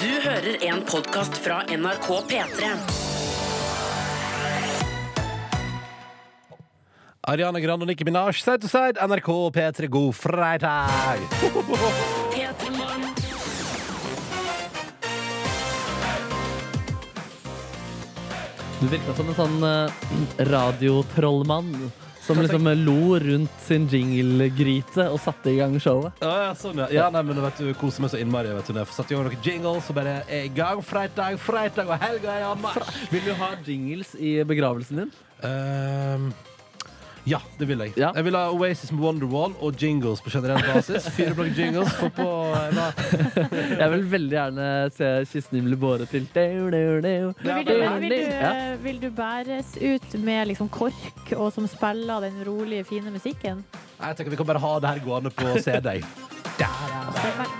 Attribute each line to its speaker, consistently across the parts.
Speaker 1: Du hører en podcast fra NRK P3.
Speaker 2: Ariana Grande og Nicki Minaj, side to side, NRK P3, god fredag!
Speaker 1: P3 Morgen.
Speaker 3: Du virka som en sånn eh, radiotrollmann som liksom lo rundt sin jinglegryte og satte i gang showet.
Speaker 2: Ja, ja, sånn, ja. ja nei, men vet du, koser meg så innmari. vet du, når jeg får satt i gang noen jingles og bare er i gang. Fredag, fredag og helga er i anmarsj!
Speaker 3: Vil du ha jingles i begravelsen din?
Speaker 2: Ehm, ja, det vil jeg.
Speaker 3: Ja.
Speaker 2: Jeg vil ha Oasis med Wonderwall og jingles på generell basis. Fire blokk jingles. Få på eh, da.
Speaker 3: Jeg vil veldig gjerne se kisten bli båret til Dau, dau, dau.
Speaker 4: Men vil, du, vil, du, vil du bæres ut med liksom kork, og som spiller den rolige, fine musikken?
Speaker 2: Nei, jeg tenker Vi kan bare ha det her gående på CD.
Speaker 4: Det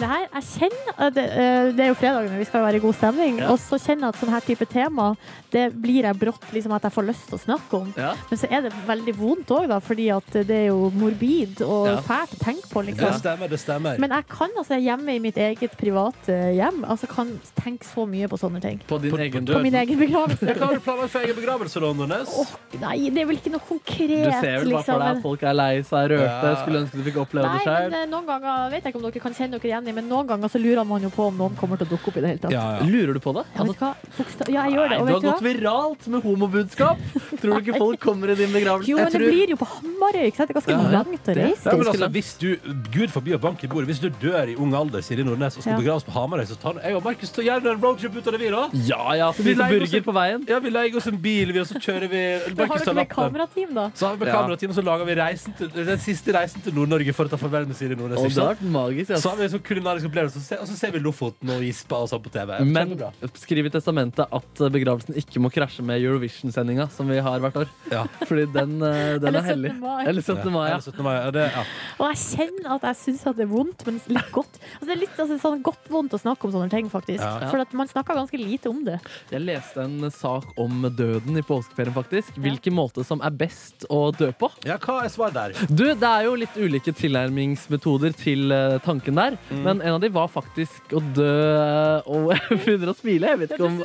Speaker 4: her, jeg kjenner det, eh, det er jo fredag, men vi skal jo være i god stemning. Og så kjenner jeg at sånn her type tema, det blir jeg brått liksom at jeg får lyst til å snakke om.
Speaker 3: Ja.
Speaker 4: Men så er det veldig vondt òg, da, fordi at det er jo morbid og
Speaker 3: Ja.
Speaker 4: fælt å tenke på,
Speaker 2: Det
Speaker 4: liksom.
Speaker 2: stemmer, det stemmer.
Speaker 4: Men jeg kan altså hjemme i mitt eget private hjem altså kan tenke så mye på sånne ting.
Speaker 3: På din
Speaker 2: På- på
Speaker 3: egen
Speaker 2: død.
Speaker 4: På min egen begravelse.
Speaker 2: Ja, Hva har du planlagt for egen begravelse, da, Nordnes?
Speaker 4: Åh, nei, det er vel ikke noe konkret,
Speaker 3: Du ser vel bare
Speaker 4: liksom.
Speaker 3: for deg
Speaker 4: men-
Speaker 3: at folk er lei seg, rørte,
Speaker 2: Ja.
Speaker 3: skulle ønske du fikk oppleve det
Speaker 4: Nei, men
Speaker 3: sjøl.
Speaker 4: eh, noen ganger vet jeg ikke om dere kan kjenne dere igjen i, men noen ganger så lurer man jo på om noen kommer til å dukke opp i det hele tatt.
Speaker 2: Ja, ja.
Speaker 3: Lurer du på det?
Speaker 4: Ja, vet du hva? Boksta- ja jeg gjør det.
Speaker 3: Nei,
Speaker 4: Og
Speaker 3: du
Speaker 4: vet
Speaker 3: har
Speaker 4: du
Speaker 3: gått
Speaker 4: hva?
Speaker 3: viralt med homobudskap! Tror du ikke folk kommer i din begravelse?
Speaker 4: Jo,
Speaker 3: Jeg
Speaker 4: men det
Speaker 3: tror-
Speaker 4: blir jo på Hamarøy, ikke sant? Det er ganske
Speaker 3: Ja, ja.
Speaker 4: langt å
Speaker 3: Det-
Speaker 4: reise.
Speaker 2: Ja, men
Speaker 3: Ganske
Speaker 2: altså,
Speaker 3: langt.
Speaker 2: hvis du, Gud forby å banke i bordet Hvis du dør i ung alder, Siri Nordnes, og skal
Speaker 4: Ja.
Speaker 2: begraves på Hamarøy, så tar jeg og Markus til å gjøre en roadtrip utover vi, da.
Speaker 3: Ja ja, spise
Speaker 2: leier oss
Speaker 3: burger
Speaker 2: en-
Speaker 3: på veien.
Speaker 2: Ja, vi leier oss en bil, vi, og så kjører vi
Speaker 4: Men har
Speaker 2: Markus tar
Speaker 4: dere med
Speaker 2: lappen.
Speaker 4: kamerateam, da?
Speaker 2: Så har vi med
Speaker 3: Ja.
Speaker 2: kamerateam, og så lager vi reisen til, den siste reisen til Nord-Norge for å ta farvel med Siri Nordnes.
Speaker 3: Og
Speaker 2: ikke
Speaker 3: det har
Speaker 2: sant?
Speaker 3: vært magisk. ass.
Speaker 2: Så har vi en sånn kulinarisk opplevelse, og så ser- og så ser vi Lofoten og Ispa og sånn på TV.
Speaker 3: Men
Speaker 2: Kjempebra.
Speaker 3: skriv i testamentet at begravelsen ikke må krasje med Eurovision-sendinga, som vi har hvert år.
Speaker 2: Ja.
Speaker 3: Fordi den, eh, den
Speaker 4: Eller
Speaker 3: er hellig.
Speaker 4: 17. mai.
Speaker 3: Eller 17. mai.
Speaker 2: Ja,
Speaker 3: Ja.
Speaker 2: det er 17. mai, ja, det, ja.
Speaker 4: Og jeg kjenner at jeg syns at det er vondt, men litt godt. Altså, det er litt altså, sånn godt vondt å snakke om sånne ting, faktisk.
Speaker 2: Ja.
Speaker 4: For at man snakker ganske lite om det.
Speaker 3: Jeg leste en sak om døden i påskeferien, faktisk. Hvilken måte som er best å dø på.
Speaker 2: ja, hva er svaret der?
Speaker 3: Du, Det er jo litt ulike tilnærmingsmetoder til eh, tanken der, men en av de var faktisk å dø eh, Og jeg begynner å smile, jeg vet ikke om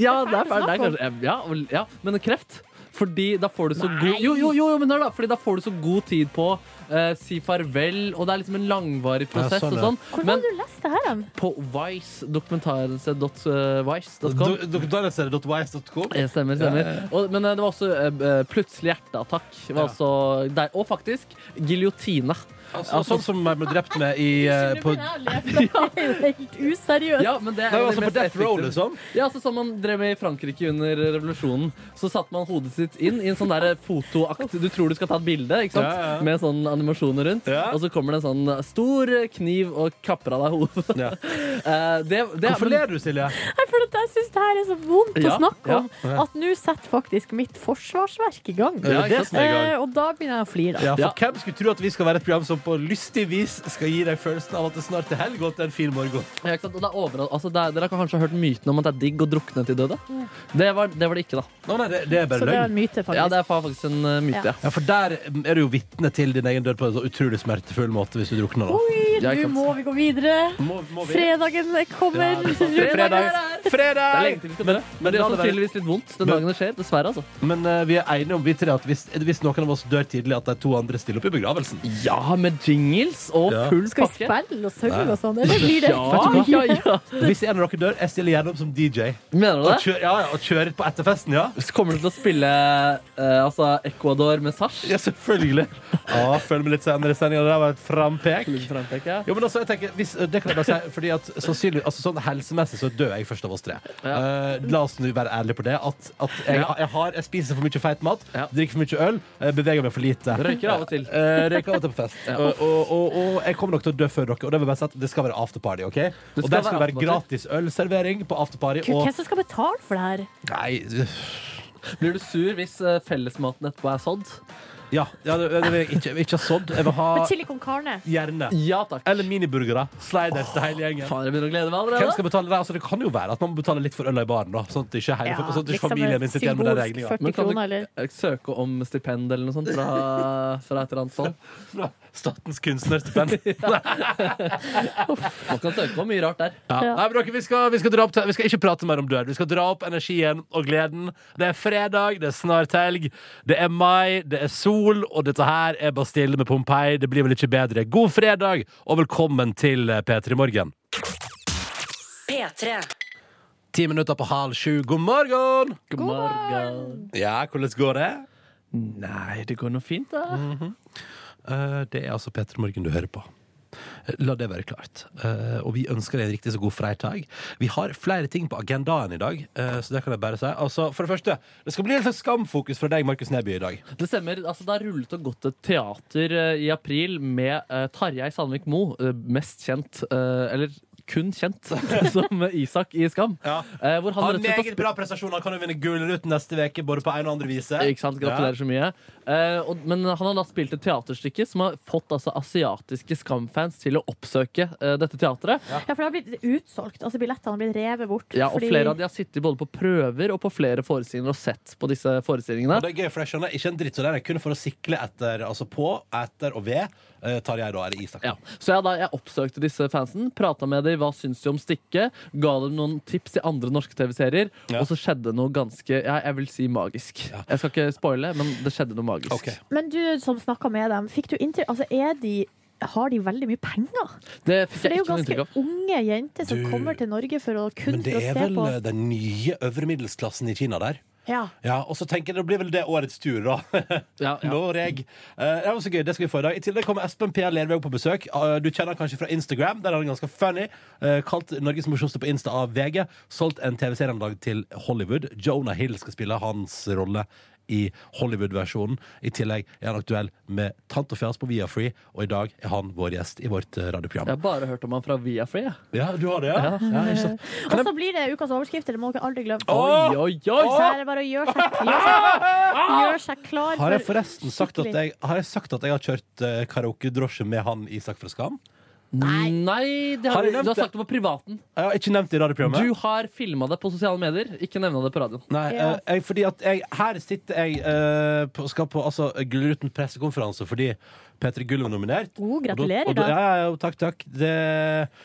Speaker 3: Ja, det er fælt. Det er kanskje, ja, og- ja, men kreft? Fordi da får du så god jo, jo, jo, jo, men hør da, fordi da får du så god tid på å eh, si farvel, og det er liksom en langvarig prosess.
Speaker 2: sånn,
Speaker 3: og
Speaker 2: ja.
Speaker 3: sånn
Speaker 4: Hvor
Speaker 3: Men
Speaker 4: har du lest det her hen?
Speaker 3: på Vice, dokumentarse.vice.com
Speaker 2: Doktordanelser.wise.com?
Speaker 3: Eh, Stemmer, stemmer. Og, men eh, det var også eh, eh, plutselig hjerteattakk. Det Var
Speaker 2: Ja.
Speaker 3: også der, og faktisk giljotine.
Speaker 2: Altså, sånn som jeg ble drept med i eh, på, Nei,
Speaker 4: Det er jo helt useriøst.
Speaker 3: Ja, men det er jo det
Speaker 2: altså, på
Speaker 3: mest
Speaker 2: Death Row,
Speaker 3: effektive.
Speaker 2: liksom?
Speaker 3: Ja, altså Som man drev med i Frankrike under revolusjonen. Så satte man hodet sitt inn i en sånn der fotoakt Du tror du skal ta et bilde ikke sant?
Speaker 2: Ja, ja.
Speaker 3: med sånn animasjoner rundt,
Speaker 2: Ja.
Speaker 3: og så kommer det en sånn stor kniv og kapper av deg hodet.
Speaker 2: Ja.
Speaker 3: Eh, det, det,
Speaker 2: Hvorfor
Speaker 3: men-
Speaker 2: ler du, Silje?
Speaker 4: Nei, for at jeg syns det her er så vondt å
Speaker 3: Ja,
Speaker 4: snakke
Speaker 3: ja.
Speaker 4: om at nå setter faktisk mitt forsvarsverk i gang.
Speaker 2: Ja,
Speaker 3: ikke sant?
Speaker 2: som er i gang.
Speaker 4: Eh, og da begynner jeg å flire, da.
Speaker 2: Ja, for
Speaker 3: Ja.
Speaker 2: Hvem skulle tro at vi skal være et program som på lystig vis skal gi deg følelsen av at det snart er helg og at det er en fin morgen?
Speaker 3: Ja, ikke sant? Og det er overal- altså, det er, dere har kanskje hørt myten om at det er digg å drukne til døde? Det var det, var det ikke, da.
Speaker 2: Nå, nei, det, det er
Speaker 4: Så
Speaker 2: bare
Speaker 4: det er
Speaker 2: løgn.
Speaker 4: en myte, faktisk.
Speaker 3: Ja, det er fa- faktisk en eh, myte, ja.
Speaker 2: Ja, For der er du jo vitne til din egen død på en så utrolig smertefull måte hvis du drukner. da.
Speaker 4: Oi,
Speaker 3: Ja, ikke
Speaker 4: nå
Speaker 3: sant.
Speaker 4: må vi gå videre.
Speaker 2: Må, må vi?
Speaker 4: Fredagen kommer.
Speaker 2: Ja, det er sant.
Speaker 4: Runder
Speaker 2: Fredag.
Speaker 4: det.
Speaker 3: Det er
Speaker 2: Fredag!
Speaker 3: lenge til vi skal dø.
Speaker 2: men
Speaker 3: Men det
Speaker 2: la
Speaker 3: gjør
Speaker 2: det være-
Speaker 3: sannsynligvis litt vondt den dagen det skjer. Dessverre, altså.
Speaker 2: Men eh, vi er enige om vi tre at hvis, hvis noen av oss dør tidlig, at de to andre stiller opp i begravelsen.
Speaker 3: Ja, med jingles og
Speaker 2: Ja.
Speaker 3: full
Speaker 4: Skal vi
Speaker 3: pakke.
Speaker 4: spille og synge og sånn, eller blir det
Speaker 3: Ja, ja, ja.
Speaker 2: Hvis en av dere dør, jeg stiller gjerne opp som DJ.
Speaker 3: Mener du
Speaker 2: Og
Speaker 3: det?
Speaker 2: kjører, ja, ja, og kjører på etterfesten, ja?
Speaker 3: Så kommer du til å spille eh, altså Ecuador med Sash?
Speaker 2: Ja, selvfølgelig. Ja, følg med litt senere i sendinga. Det der var et frampek.
Speaker 3: Ja.
Speaker 2: Jo, men altså, jeg tenker, hvis, det kan jeg bare si, fordi at sannsynlig, altså, sånn Helsemessig så dør jeg først av oss tre. Eh, la oss nå være ærlige på det. At, at jeg,
Speaker 3: Ja.
Speaker 2: jeg, har, jeg spiser for mye feit mat,
Speaker 3: Ja.
Speaker 2: drikker for mye øl, eh, beveger meg for lite.
Speaker 3: Røyker av og til.
Speaker 2: Eh, røyker av og til på fest. Og, og, og, og jeg kommer nok til å dø før dere. Og det, vil jeg bare si at det skal være afterparty. ok?
Speaker 3: skal
Speaker 2: og der skal det
Speaker 3: være
Speaker 2: være gratis ølservering på afterparty.
Speaker 4: Gud,
Speaker 2: Og
Speaker 4: Hvem som skal betale for det her?
Speaker 2: nei,
Speaker 3: Blir du sur hvis eh, fellesmaten etterpå er sådd?
Speaker 2: Ja, ja det, det vil jeg ikke, ikke ha sådd. Jeg vil ha
Speaker 5: Men chili con carne.
Speaker 2: gjerne.
Speaker 3: Ja takk.
Speaker 2: Eller miniburgere. Sliders til hele gjengen.
Speaker 3: Faen, jeg begynner å glede meg allerede.
Speaker 2: Hvem skal betale det? Altså, det kan jo være at man betaler litt for øla i baren, da. Sånn at ikke, hele,
Speaker 5: Ja,
Speaker 2: sånn at ikke
Speaker 5: liksom
Speaker 2: familien min sitter igjen med den
Speaker 5: symbolsk
Speaker 2: regninga.
Speaker 5: 40
Speaker 3: Men kan du-
Speaker 5: kroner, eller?
Speaker 3: Eh, Søke om stipend eller noe sånt fra, fra et eller annet fond.
Speaker 2: Fra Statens kunstnerstipend.
Speaker 3: Man kan søke om mye rart der.
Speaker 2: Ja.
Speaker 5: Ja.
Speaker 2: Nei, men dere, vi, skal, vi, skal dra opp, vi skal ikke prate mer om død. Vi skal dra opp energien og gleden. Det er fredag, det er snart helg, det er mai, det er sol, og dette her er Bastille med Pompeii. Det blir vel ikke bedre. God fredag, og velkommen til P3 Morgen.
Speaker 1: P3.
Speaker 2: Ti minutter på halv sju. God morgen!
Speaker 3: God morgen.
Speaker 2: Ja, hvordan går det?
Speaker 3: Nei, det går nå fint, da.
Speaker 2: Eh, Det er altså Petter Morgen du hører på. Eh, La det være klart. Eh, og vi ønsker deg en riktig så god fredag. Vi har flere ting på agendaen i dag, eh, så det kan jeg bare si. Altså, for det første, det skal bli litt sånn skamfokus fra deg, Markus Neby, i dag.
Speaker 3: Det stemmer. altså Da rullet og gått et teater eh, i april med eh, Tarjei Sandvik Mo, eh, mest kjent eh, Eller kun kjent som Isak i Skam.
Speaker 2: Ja.
Speaker 3: Eh, hvor han
Speaker 2: Har
Speaker 3: rett og slett har
Speaker 2: meget bra prestasjoner, kan jo vinne Gullruten neste uke, både på en og andre vise.
Speaker 3: Ikke sant? Gratulerer så mye. Eh, og, men han har da spilt et teaterstykke som har fått altså, asiatiske Skam-fans til å oppsøke eh, dette teatret. Ja.
Speaker 5: Ja, for det har blitt utsolgt. Altså Billettene har blitt revet bort.
Speaker 3: og Flere av de har sittet både på prøver og på flere forestillinger og sett på disse forestillingene.
Speaker 2: Og det er gøy, for jeg skjønner ikke en dritt som det er kun for å sikle etter, altså på, etter og ved. eh, Tar jeg da, er det Isak.
Speaker 3: Ja. Så jeg, da, jeg oppsøkte disse fansen, prata med dem, hva syns de om stykket, ga dem noen tips til andre norske TV-serier,
Speaker 2: Ja.
Speaker 3: og så skjedde noe ganske ja, Jeg vil si magisk. Jeg skal ikke spoile, men det skjedde noe magisk.
Speaker 2: Ok.
Speaker 5: Men du som snakka med dem, fikk du inntrykk Altså, er de har de veldig mye penger?
Speaker 3: Det fikk
Speaker 5: For det er
Speaker 3: jeg
Speaker 5: jo
Speaker 3: ikke noe inntrykk
Speaker 5: ganske
Speaker 3: av.
Speaker 5: unge jenter som
Speaker 2: Du-
Speaker 5: kommer til Norge for å kun
Speaker 2: Men det
Speaker 5: for å
Speaker 2: er
Speaker 5: se
Speaker 2: vel
Speaker 5: på.
Speaker 2: eh, den nye øvre middelsklassen i Kina der.
Speaker 5: Ja.
Speaker 2: Ja, og så tenker jeg Det blir vel det årets tur, da.
Speaker 3: Ja, ja.
Speaker 2: Noreg. Eh, det var så gøy, det skal vi få i dag. I tillegg kommer Espen P. Lervåg på besøk. Eh, du kjenner han kanskje fra Instagram. Der er han ganske funny. Eh, kalt Norges morsomste på Insta av VG. Solgt en TV-serie en dag til Hollywood. Jonah Hill skal spille hans rolle i Hollywood-versjonen. I tillegg er han aktuell med Tant og fjas på Viafree, og i dag er han vår gjest i vårt eh,
Speaker 3: Jeg
Speaker 2: radioprogram.
Speaker 3: har bare hørt om han fra Viafree. jeg.
Speaker 2: Ja, du har det, ja? ja ikke sant.
Speaker 5: Og så blir det ukas overskrifter, det må dere aldri glemme.
Speaker 3: Oi, oi, oi!
Speaker 5: Så her er det bare å gjøre seg, gjøre seg, gjøre seg klar
Speaker 2: Ah! Har jeg
Speaker 5: for
Speaker 2: forresten sagt at jeg har, jeg sagt at jeg har kjørt eh, karaoke-drosje med han Isak fra Skam?
Speaker 3: Nei, det
Speaker 2: Har
Speaker 3: har,
Speaker 2: jeg
Speaker 3: du,
Speaker 2: nevnt
Speaker 3: du har
Speaker 2: det?
Speaker 3: sagt det på privaten.
Speaker 2: Jeg har ikke nevnt det i radioprogrammet.
Speaker 3: Du har filma det på sosiale medier, ikke nevna det på radioen.
Speaker 2: Nei,
Speaker 5: Ja.
Speaker 2: eh, jeg, fordi at jeg, her sitter jeg eh, på, skal på altså, Gullruten pressekonferanse fordi P3 Gull er nominert.
Speaker 5: Oh, gratulerer,
Speaker 2: og da. Og da,
Speaker 5: da.
Speaker 2: ja, ja, ja, takk, takk. Det,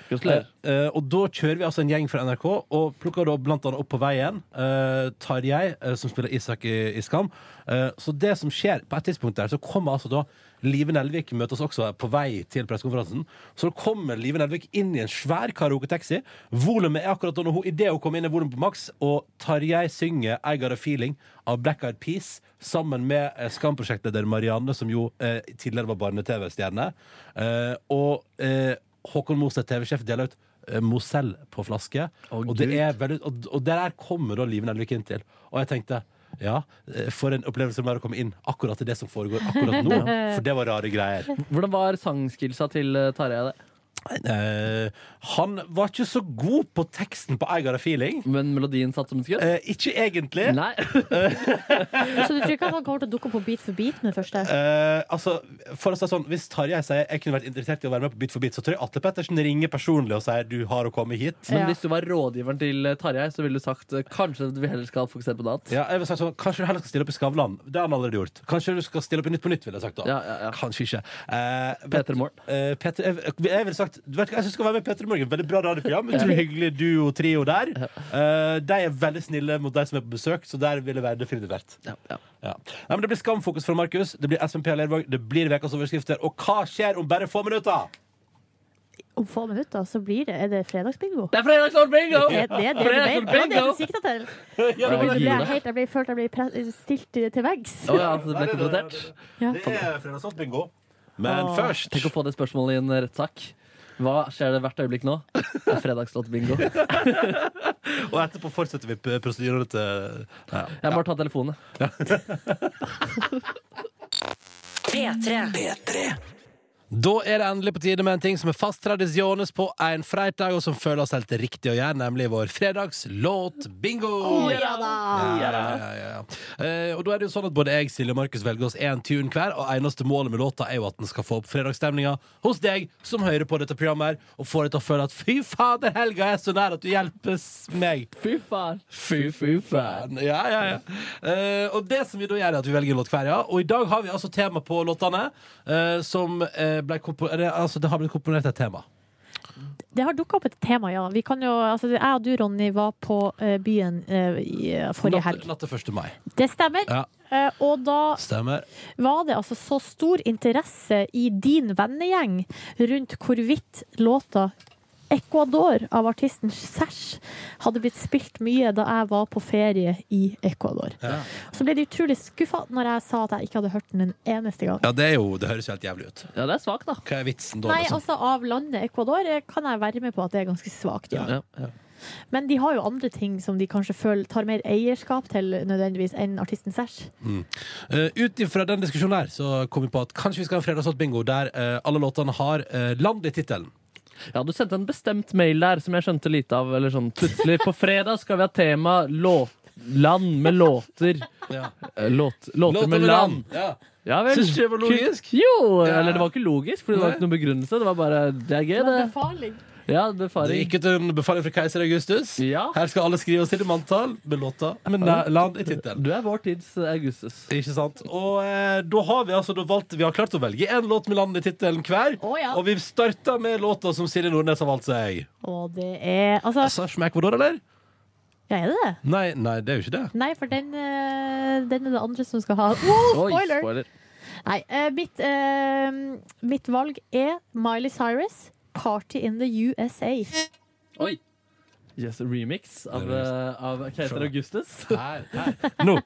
Speaker 3: Gratulerer.
Speaker 2: Eh, og da kjører vi altså en gjeng fra NRK og plukker da blant annet opp på veien uh, Tarjei, eh, som spiller Isak i, i Skam. Eh, så det som skjer på et tidspunkt der, så kommer altså da Live Nelvik møter oss også på vei til pressekonferansen. Så kommer Live Nelvik inn i en svær karaoke-taxi. Volumet er akkurat da når hun, i det hun kommer inn i volumet på maks, og Tarjei synger I Got A Feeling av Black Eyed Peas sammen med eh, Skam-prosjektleder Marianne, som jo eh, tidligere var barne-TV-stjerne. Eh, og eh, Håkon Moseth, TV-sjef, deler ut eh, Mosell på flaske.
Speaker 3: Å,
Speaker 2: og, det
Speaker 3: Gud.
Speaker 2: er veldig, og, og der kommer da Live Nelvik inn til. Og jeg tenkte ja, eh, for en opplevelse det var å komme inn akkurat til det som foregår akkurat nå. For det var rare greier.
Speaker 3: Hvordan var sangskillsa til eh, Tarjei? det?
Speaker 2: Eh, han var ikke så god på teksten på I Got A Feeling.
Speaker 3: Men melodien satt som et skudd?
Speaker 2: Eh, ikke egentlig.
Speaker 3: Nei.
Speaker 5: Så du tror ikke at han kommer til å dukke opp på Beat for beat med det første?
Speaker 2: Eh, altså, for å si det sånn, Hvis Tarjei sier jeg kunne vært interessert i å være med på Bit for bit, så tror jeg Atle Pettersen ringer personlig og sier du har å komme hit.
Speaker 3: Men
Speaker 5: Ja.
Speaker 3: hvis du var rådgiveren til eh, Tarjei, så ville du sagt eh, kanskje vi heller skal fokusere på noe annet.
Speaker 2: Ja, jeg vil si sånn, Kanskje du heller skal stille opp i Skavlan. Det har han allerede gjort. Kanskje du skal stille opp i Nytt på Nytt, ville jeg sagt da.
Speaker 3: Ja, ja, ja.
Speaker 2: Kanskje ikke. Eh,
Speaker 3: Peter Morn.
Speaker 2: eh, Peter, jeg, jeg ville sagt du vet, hva, Jeg syns du skal være med i Peter Morgen. Veldig bra radioprogram. Utrolig hyggelig duo, trio der. Eh, de er veldig snille mot de som er på besøk, så der vil jeg være definitivt verdt.
Speaker 3: Ja, ja.
Speaker 2: Ja. Nei, men det blir skamfokus fra Markus, det blir SMP Lervåg, det blir ukas overskrifter. Og hva skjer om bare få minutter?
Speaker 5: Om få minutter så blir det Er det fredagsbingo?
Speaker 3: Det er fredagsord bingo!
Speaker 5: Det er det det ble. Det
Speaker 3: Fredagsord
Speaker 5: var det
Speaker 3: bingo!
Speaker 5: du sikta til.
Speaker 2: Ja,
Speaker 5: Jeg,
Speaker 3: det var
Speaker 5: ble
Speaker 3: jula.
Speaker 5: helt, jeg ble, følte jeg ble pre- stilt til til veggs.
Speaker 3: Å ja, altså, det ble konfrontert.
Speaker 5: Ja.
Speaker 2: Det er fredagsbingo. Men
Speaker 5: Åh.
Speaker 2: først
Speaker 3: Tenk å få det spørsmålet i en eh, rettssak. Hva skjer det hvert øyeblikk nå? Det er fredagslåt bingo. Jeg
Speaker 2: Og etterpå fortsetter vi p- prosedyrene til ja.
Speaker 3: må bare ta telefonen.
Speaker 1: P3.
Speaker 2: P3. Da er det endelig på tide med en ting som er fast tradisjones på en fredag, og som føles helt riktig å gjøre, nemlig vår fredagslåtbingo!
Speaker 4: Å, ja da!
Speaker 2: Ja, ja, ja, ja. Eh, og da er det jo sånn at Både jeg, Silje og Markus velger oss én tune hver, og eneste målet med låta er jo at den skal få opp fredagsstemninga hos deg som hører på dette programmet, her, og får deg til å føle at fy fader, helga er så nær at du hjelpes meg.
Speaker 3: Fy faen. Fy, fy faen.
Speaker 2: Ja, ja, ja. Eh, og det som vi da gjør, er at vi velger en låt hver, ja. Og i dag har vi altså tema på låtene eh, som eh, ble kompo- eller, Altså, det har blitt komponert et tema.
Speaker 4: Det har dukka opp et tema, ja. Vi kan jo, altså, jeg og du, Ronny, var på eh, byen eh, i, eh, forrige
Speaker 2: Natt,
Speaker 4: helg.
Speaker 2: natt til 1. mai.
Speaker 4: Det stemmer.
Speaker 2: Ja,
Speaker 4: Eh, og da
Speaker 2: stemmer.
Speaker 4: var det altså så stor interesse i din vennegjeng rundt hvorvidt låta Ecuador av artisten Sash hadde blitt spilt mye da jeg var på ferie i Ecuador.
Speaker 2: Ja.
Speaker 4: Så ble de utrolig skuffa når jeg sa at jeg ikke hadde hørt den en eneste gang.
Speaker 2: Ja, det, er jo, det høres jo helt jævlig ut.
Speaker 3: Ja, det er svakt, da.
Speaker 2: Hva er vitsen da?
Speaker 4: Nei,
Speaker 2: liksom?
Speaker 4: altså Av landet Ecuador eh, kan jeg være med på at det er ganske svakt. Ja.
Speaker 3: Ja, ja.
Speaker 4: Men de har jo andre ting som de kanskje føler tar mer eierskap til nødvendigvis enn artisten Sash.
Speaker 2: Uh, Ut ifra den diskusjonen her så kom vi på at kanskje vi skal ha en fredagslåtbingo der eh, alle låtene har eh, land i tittelen.
Speaker 3: Ja, Du sendte en bestemt mail der som jeg skjønte lite av. Eller sånn, plutselig På fredag skal vi ha tema låtland med låter.
Speaker 2: Ja.
Speaker 3: Eh, Låt, låter med land.
Speaker 2: Ja.
Speaker 3: Ja vel.
Speaker 2: Syns du det var logisk?
Speaker 3: Jo!
Speaker 2: Ja.
Speaker 3: Eller det var ikke logisk, for det var
Speaker 2: Nei.
Speaker 3: ikke noen begrunnelse. Det var bare Det er gøy, det. Ja,
Speaker 2: Det
Speaker 3: befaring.
Speaker 2: gikk ut en befaling fra keiser Augustus.
Speaker 3: Ja.
Speaker 2: Her skal alle skrive oss inn i manntall med låta med na- land i tittelen.
Speaker 3: Du er vår tids eh, Augustus.
Speaker 2: Ikke sant? Og eh, da har vi altså da valgt Vi har klart å velge én låt med land i tittelen hver.
Speaker 4: Å, ja.
Speaker 2: Og vi starter med låta som Silje Nordnes har valgt seg.
Speaker 4: Og det er Altså,
Speaker 2: Sa Smack Vador, eller?
Speaker 4: ja, er det det?
Speaker 2: Nei, nei, det er jo ikke det.
Speaker 4: Nei, for den, eh, den er det andre som skal ha. Oh,
Speaker 3: Oi,
Speaker 4: spoiler! Nei, eh, mitt, eh, mitt valg er Miley Cyrus, 'Party in the USA'.
Speaker 3: Oi. Yes, remix av,
Speaker 2: Remix.
Speaker 3: eh, av Keiser Augustus.
Speaker 2: Her, her. Nå.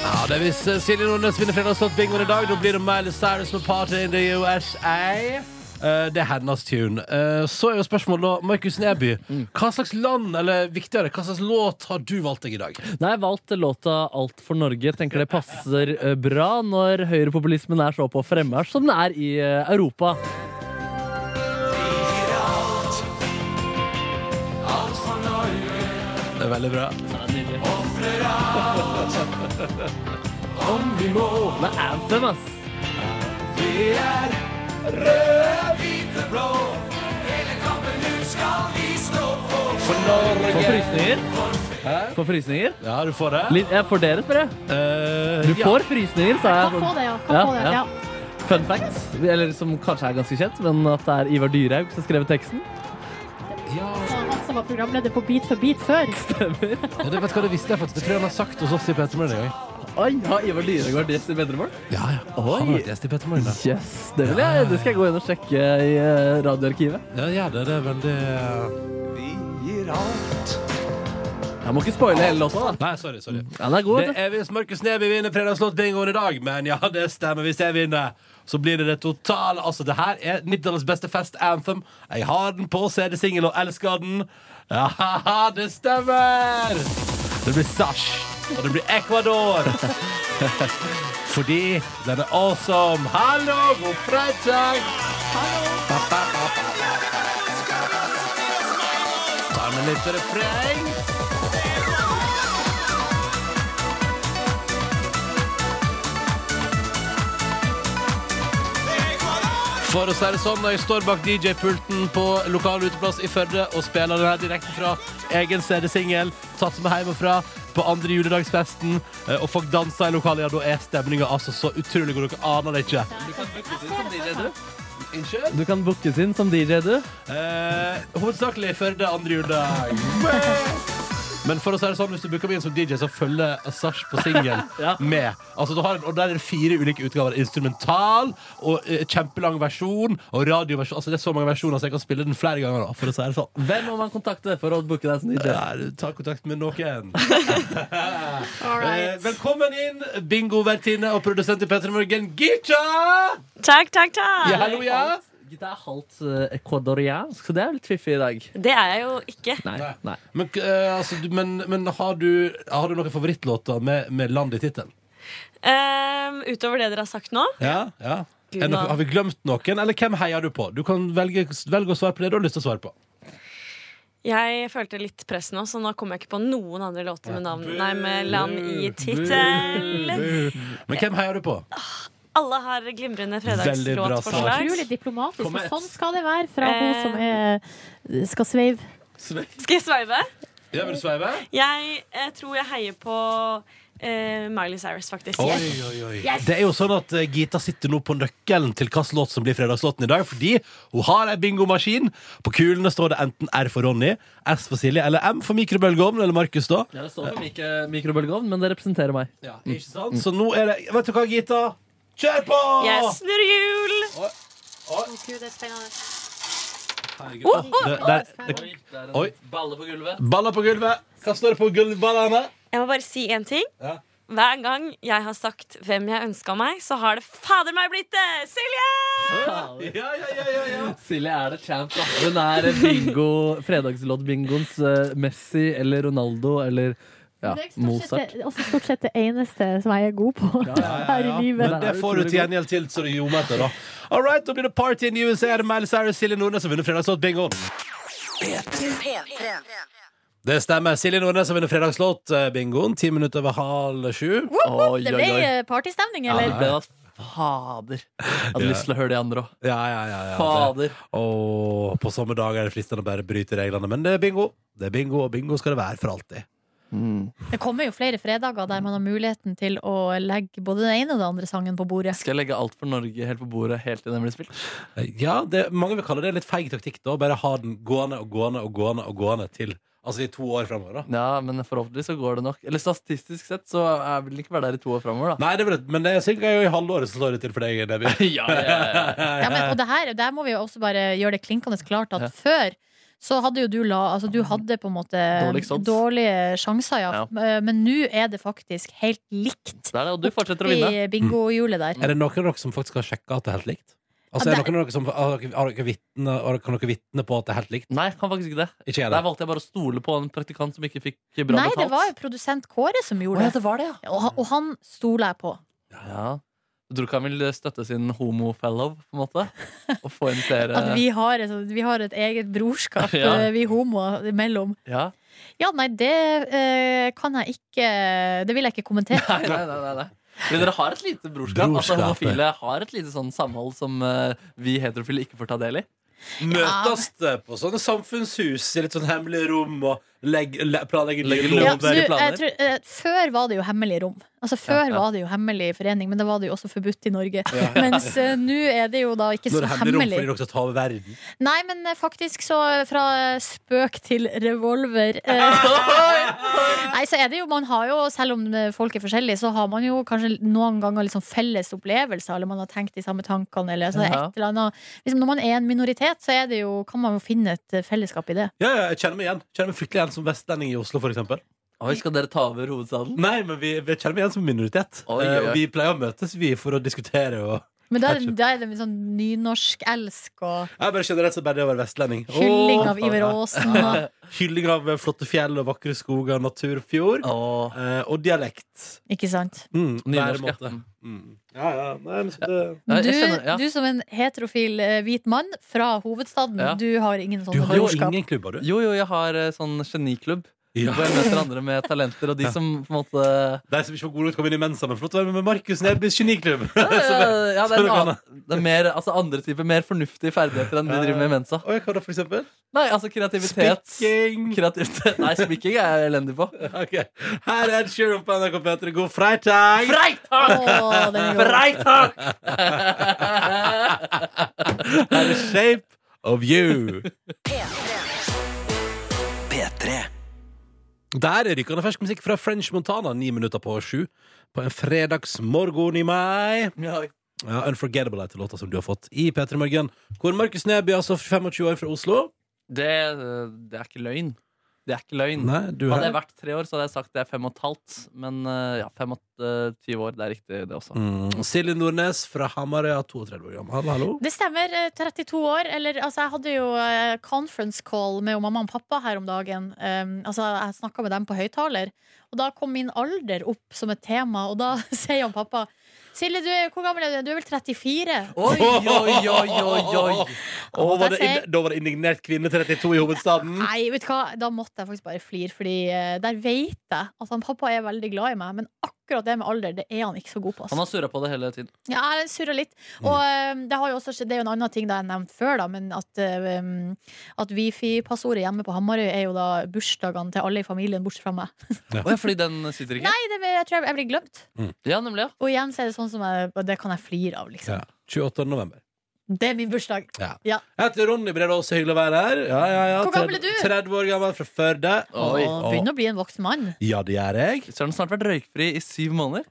Speaker 2: Ja, det er hvis eh, Silje Nordnes vinner fredagslåtbingoen i dag. Da blir det Miley Cyrus med Party in the USA. Eh, det er hennes tune. Eh, så er jo spørsmålet da, Markus Neby, hva slags land, eller viktigere, hva slags låt har du valgt deg i dag?
Speaker 3: Nei, jeg valgte låta Alt for Norge. Tenker det passer eh, bra når høyrepopulismen er så på fremmarsj som den er i eh, Europa.
Speaker 2: Det er veldig bra.
Speaker 3: Om vi må Det er anthem, ass. Får frysninger. Får frysninger.
Speaker 2: Ja, du får det.
Speaker 3: Litt, jeg får dere, spør jeg.
Speaker 2: Eh,
Speaker 3: Du
Speaker 2: ja.
Speaker 3: får frysninger, sa
Speaker 4: Kan
Speaker 3: jeg.
Speaker 4: få det, ja. Kan
Speaker 3: Ja,
Speaker 4: få det,
Speaker 3: ja.
Speaker 4: ja.
Speaker 3: Fun fact, eller som kanskje er ganske kjent, men at det er Ivar Dyrhaug som har skrevet teksten.
Speaker 2: Ja.
Speaker 4: Så Han som var programleder på Beat for beat før.
Speaker 2: Ja, du vet hva det visste jeg faktisk. Det tror jeg han har sagt hos oss i Petter Morgen en gang.
Speaker 3: Oi, har Ivar Dyrhaug vært gjest i Bedrevold?
Speaker 2: Ja, ja. Han har vært gjest i Petter Morgen, da.
Speaker 3: Yes, det, vil jeg, det skal jeg gå inn og sjekke i eh, radioarkivet.
Speaker 2: Ja, ja, det det er veldig eh,
Speaker 3: Jeg må ikke spoile hele låta, da.
Speaker 2: Nei, sorry, sorry.
Speaker 3: Den er god.
Speaker 2: Det
Speaker 3: vet du.
Speaker 2: er hvis Markus Neby vinner fredagslåtbingoen i dag, men ja, det stemmer. Hvis jeg vinner, så blir det det totale Altså, det her er 90-tallets beste fest-anthem. Jeg har den på CD-singel og elsker den. Ja, haha, det stemmer! Det blir Sash, og det blir Ecuador. Fordi den er awesome. Hallo, god fredag! Ta med litt refreng. For å si det sånn, jeg står bak DJ-pulten på lokal uteplass i Førde og spiller den her direkte fra egen CD-singel, tatt med hjemmefra på andre juledagsfesten, eh, og folk danser i lokalet. Ja, da er stemninga altså så utrolig god, dere aner det ikke. Unnskyld?
Speaker 3: Du kan bookes inn som DJ, du.
Speaker 2: Eh, hovedsakelig Førde andre juledag. Men for å si det sånn, hvis du bruker meg inn som DJ, så følger Sash på singel
Speaker 3: Ja.
Speaker 2: med. Altså, du har, en- og der er det fire ulike utgaver. Instrumental og eh, kjempelang versjon og radioversjon. Altså, det er så mange versjoner, så jeg kan spille den flere ganger. Da, for å si det sånn.
Speaker 3: Hvem må man kontakte for å booke deg som DJ?
Speaker 2: Ja, du, ta kontakt med noen. Eh,
Speaker 6: All right.
Speaker 2: velkommen inn, bingovertinne og produsent i P3 Morgen, Gitcha!
Speaker 6: Takk, takk, takk.
Speaker 2: Ja, hallo, ja.
Speaker 3: Gitt er halvt eh, ecuadoriansk, så det er litt fiffig i dag.
Speaker 6: Det er jeg jo ikke.
Speaker 3: Nei, nei.
Speaker 2: Men, eh, altså, du, men, men har, du, har du noen favorittlåter med, med land i tittelen?
Speaker 6: Ehm, utover det dere har sagt nå.
Speaker 2: Ja, ja.
Speaker 6: Gud,
Speaker 2: Er noe-
Speaker 6: mann.
Speaker 2: har vi glemt noen, eller hvem heier du på? Du kan velge, velge å svare på det du har lyst til å svare på.
Speaker 6: Jeg følte litt press nå, så nå kommer jeg ikke på noen andre låter med navn Nei, med land i tittel.
Speaker 2: Men hvem heier du på?
Speaker 6: Alle har glimrende
Speaker 2: Veldig bra svar.
Speaker 6: fredagslåtforslag.
Speaker 4: Utrolig diplomatisk.
Speaker 2: Kom
Speaker 4: Og
Speaker 2: et.
Speaker 4: sånn skal det være fra hun
Speaker 6: Eh.
Speaker 4: som er, skal sveive.
Speaker 6: Skal jeg sveive?
Speaker 2: Ja, vil du sveive?
Speaker 6: Jeg eh, tror jeg heier på eh, Miley Cyrus, faktisk.
Speaker 2: Oi, oi, oi. Det er jo sånn at eh, Gita sitter nå på nøkkelen til hvilken låt som blir fredagslåten i dag, fordi hun har ei bingomaskin. På kulene står det enten R for Ronny, S for Silje eller M for mikrobølgeovnen eller Markus, da.
Speaker 3: Ja, det står for mik eh, mikrobølgeovn, men det representerer meg.
Speaker 2: Ja, ikke sant? Så nå er det Vet du hva, Gita? Kjør på!
Speaker 6: Jeg snurrer hjul!
Speaker 2: Herregud. Det, der- det, Oi.
Speaker 3: Balle på gulvet.
Speaker 2: baller på gulvet. Hva står det på gulvballene?
Speaker 6: Jeg må bare si én ting.
Speaker 2: Ja.
Speaker 6: Hver gang jeg har sagt hvem jeg ønska meg, så har det fader meg blitt det! Silje!
Speaker 2: Ja, ja, ja, ja, ja.
Speaker 3: Silje er det champ. da. Hun er bingo, fredagslodd-bingoens eh, Messi eller Ronaldo eller ja,
Speaker 4: Det er stort sett
Speaker 3: Mozart.
Speaker 4: det- også stort sett det eneste som jeg er god på her i livet.
Speaker 2: Men det får du til gjengjeld til, så det ljomer etter, da. All right, da blir det party in USA. Er det Miley Cyrus, Silje Nordnes som vinner fredagslåt? Bingo!
Speaker 7: P3.
Speaker 2: Det stemmer. Silje Nordnes som vinner fredagslåt. eh, Bingoen. Ti minutter over halv sju.
Speaker 3: Oi,
Speaker 8: Det
Speaker 3: oi,
Speaker 8: ble
Speaker 3: oi.
Speaker 8: eh, partystemning,
Speaker 3: Ja, det
Speaker 8: eller?
Speaker 3: ble da Fader. Jeg hadde
Speaker 2: Ja.
Speaker 3: lyst til å høre de andre òg.
Speaker 2: Ja, ja, ja. ja. Det-
Speaker 3: Fader.
Speaker 2: Åh, på samme dag er det fristende å bare bryte reglene, men det er bingo. Det er bingo, og bingo skal det være for alltid.
Speaker 8: Det kommer jo flere fredager der man har muligheten til å legge både den ene og den andre sangen på bordet.
Speaker 3: Skal jeg legge alt for Norge helt på bordet helt til den blir spilt?
Speaker 2: Eh, Ja, det, mange vil kalle det en litt feig taktikk, da. Bare ha den gående og gående og gående og gående til Altså i to år fremover da.
Speaker 3: Ja, men forhåpentlig så går det nok. Eller statistisk sett så jeg vil ikke være der i to år framover, da.
Speaker 2: Nei, det er vel, et- men det er sikkert jo i halvåret så slår det til for deg, Debbie.
Speaker 3: Ja, ja, ja.
Speaker 8: Ja, men, og det her, det her må vi jo også bare gjøre det klinkende klart at før så hadde jo du la Altså, du hadde på en måte
Speaker 3: Dårligst odds.
Speaker 8: dårlige sjanser, ja. Eh,
Speaker 3: Ja.
Speaker 8: Men nå er det faktisk helt likt
Speaker 3: Det er det, og du fortsetter å vinne.
Speaker 8: i bingohjulet der.
Speaker 2: Er det noen av dere som faktisk har sjekka at det er helt likt? Altså,
Speaker 8: Ja,
Speaker 2: er det
Speaker 8: det-
Speaker 2: noen av dere som har dere, har dere vitne, har dere, Kan dere vitne på at det er helt likt?
Speaker 3: Nei, jeg kan faktisk ikke det.
Speaker 2: Ikke jeg,
Speaker 3: Der
Speaker 2: da.
Speaker 3: valgte jeg bare å stole på en praktikant som ikke fikk bra
Speaker 8: Nei,
Speaker 3: betalt.
Speaker 8: det var jo produsent Kåre som
Speaker 3: Å,
Speaker 8: gjorde
Speaker 3: ja, det var det, ja.
Speaker 8: Og, han- og han stoler jeg på.
Speaker 3: ja. Jeg tror ikke han vil støtte sin homo-fellow, på en måte. Og få inn
Speaker 8: At
Speaker 3: flere
Speaker 8: vi har et, sånt- vi har et eget brorskap,
Speaker 3: Eh. Ja.
Speaker 8: eh, vi homoer imellom.
Speaker 3: ja.
Speaker 8: Ja, nei, det eh, kan jeg ikke Det vil jeg ikke kommentere.
Speaker 3: Nei, nei, nei, nei, nei. Men dere har et lite brorskap. Altså,
Speaker 2: Brorskapet.
Speaker 3: homofile har et lite sånn samhold som eh, vi heterofile ikke får ta del i.
Speaker 2: Møtes det på sånne samfunnshus i litt sånn hemmelige rom og legg, le, planlegger nye
Speaker 3: Legger
Speaker 8: Ja,
Speaker 3: lov.
Speaker 2: lover?
Speaker 8: nå,
Speaker 3: Lovverdige
Speaker 8: jeg
Speaker 3: planer.
Speaker 8: tror, eh, før var det jo hemmelige rom. Altså Før
Speaker 3: Ja, ja.
Speaker 8: var det jo hemmelig forening, men da var det jo også forbudt i Norge. Mens eh, nå er det jo da ikke
Speaker 2: Nå er
Speaker 8: så
Speaker 2: det hemmelig rom fordi
Speaker 8: hemmelig.
Speaker 2: dere skal ta over verden.
Speaker 8: Nei, men eh, faktisk så eh, fra eh, spøk til revolver. eh. Nei, så er det jo, man har jo, selv om eh, folk er forskjellige, så har man jo kanskje noen ganger litt sånn felles opplevelser, eller man har tenkt de samme tankene, eller så er det
Speaker 3: Ja.
Speaker 8: et eller annet. Liksom, når man er en minoritet, så er det jo, kan man jo finne et eh, fellesskap i det.
Speaker 2: Ja, ja, jeg kjenner meg igjen. Jeg Kjenner meg fryktelig igjen som vestlending i Oslo, for eksempel.
Speaker 3: Oi, skal dere ta over hovedstaden?
Speaker 2: Nei, men vi, vi kjenner meg igjen som minoritet.
Speaker 3: Oi, oi,
Speaker 2: Eh,
Speaker 3: oi.
Speaker 2: og vi pleier å møtes, vi, for å diskutere og
Speaker 8: Men da er det, da er det sånn nynorsk-elsk og
Speaker 2: Jeg bare generelt så bare det å være vestlending.
Speaker 8: Hylling
Speaker 2: Åh,
Speaker 8: av
Speaker 2: faen,
Speaker 8: Iver
Speaker 2: ja.
Speaker 8: Aasen. og-
Speaker 2: Hylling av eh, flotte fjell og vakre skoger, natur og fjord.
Speaker 3: Åh,
Speaker 2: Eh, og dialekt.
Speaker 8: Ikke sant?
Speaker 2: Mm,
Speaker 3: Nynorsk,
Speaker 2: væremåte.
Speaker 3: ja.
Speaker 2: Mm. Ja, ja. Nei, men så det...
Speaker 3: Ja,
Speaker 8: Men
Speaker 3: jeg
Speaker 8: Du,
Speaker 3: skjønner, ja.
Speaker 8: du som en heterofil eh, hvit mann fra hovedstaden,
Speaker 3: Ja.
Speaker 8: du har ingen
Speaker 2: Du
Speaker 8: sånne
Speaker 2: har jo
Speaker 8: brorskap.
Speaker 2: ingen klubber, du.
Speaker 3: Jo, jo, jeg har eh, sånn geniklubb.
Speaker 2: Ja.
Speaker 3: Hvor jeg møter andre med talenter, og de som på en måte
Speaker 2: De som ikke var gode nok til å komme inn i Mensa, men flott å være med Markus Nebys geniklubb.
Speaker 3: Ja, det er,
Speaker 2: så det
Speaker 3: en
Speaker 2: kan
Speaker 3: annen, det er mer, altså andre typer, mer fornuftige ferdigheter enn de
Speaker 2: Ja, ja.
Speaker 3: driver med i mensa.
Speaker 2: Og jeg kan da for eksempel
Speaker 3: Nei, altså kreativitet.
Speaker 2: Spikking.
Speaker 3: Kreativitet. Nei, spikking er jeg elendig på.
Speaker 2: Ok. Her er Sheeran på NRK P3. God freitag!
Speaker 8: Å, den er god.
Speaker 3: Freitag!
Speaker 2: Her er Shape of You. Der er rykende fersk musikk fra French Montana, ni minutter på sju. På en fredagsmorgen i mai. Ja, Unforgettable heter låta som du har fått i P3 Morgen. Hvor Markus Neby, altså 25 år fra Oslo
Speaker 3: Det, det er ikke løgn. Det er ikke løgn.
Speaker 2: Nei, du
Speaker 3: Hadde
Speaker 2: her.
Speaker 3: jeg vært tre år, så hadde jeg sagt det er fem og et halvt. Men eh, ja, fem og eh, tyve år, det er riktig, det også.
Speaker 2: Mm. Silje Nordnes fra Hamarøya, 32 år gammel. Hallo, hallo.
Speaker 8: Det stemmer. eh, 32 år. Eller altså, jeg hadde jo eh, conference call med jo mamma og pappa her om dagen. Um, altså, jeg snakka med dem på høyttaler, og da kom min alder opp som et tema, og da sier han pappa Silje, du er, hvor gammel er du? Du er vel 34?
Speaker 3: Oi, oi, oi, oi, oi.
Speaker 2: Å, var
Speaker 8: Da
Speaker 2: det
Speaker 8: sier-
Speaker 2: inn- da var det indignert kvinne 32 i hovedstaden.
Speaker 8: Nei, vet du hva? da måtte jeg faktisk bare flire, Fordi eh, der vet jeg at han pappa er veldig glad i meg, men akkurat det med alder, det er han ikke så god på. altså.
Speaker 3: Han har surra på det hele tiden.
Speaker 8: Ja, jeg surra litt.
Speaker 2: Mm.
Speaker 8: Og eh, det, har jo også, skjedd- det er jo en annen ting da jeg nevnte før, da, men at, eh, um, at wifi-passordet hjemme på Hamarøy er jo da bursdagene til alle i familien, bortsett fra meg.
Speaker 3: Å ja, fordi den sitter ikke?
Speaker 8: Nei, det, jeg tror jeg, jeg blir glemt.
Speaker 3: Ja, nemlig, ja.
Speaker 8: Og igjen så er det sånn som jeg, og det kan jeg flire av, liksom.
Speaker 2: Ja, 28. november.
Speaker 8: Det er min bursdag.
Speaker 2: Ja.
Speaker 8: Ja.
Speaker 2: Jeg heter Ronny Brede Aase, hyggelig å være her. Ja, ja, ja.
Speaker 8: Hvor gammel er du?
Speaker 2: 30 år gammel fra Førde.
Speaker 3: Oi.
Speaker 8: Og begynner å bli en voksen mann.
Speaker 2: Ja, det gjør jeg.
Speaker 3: Så har den snart vært røykfri i syv måneder.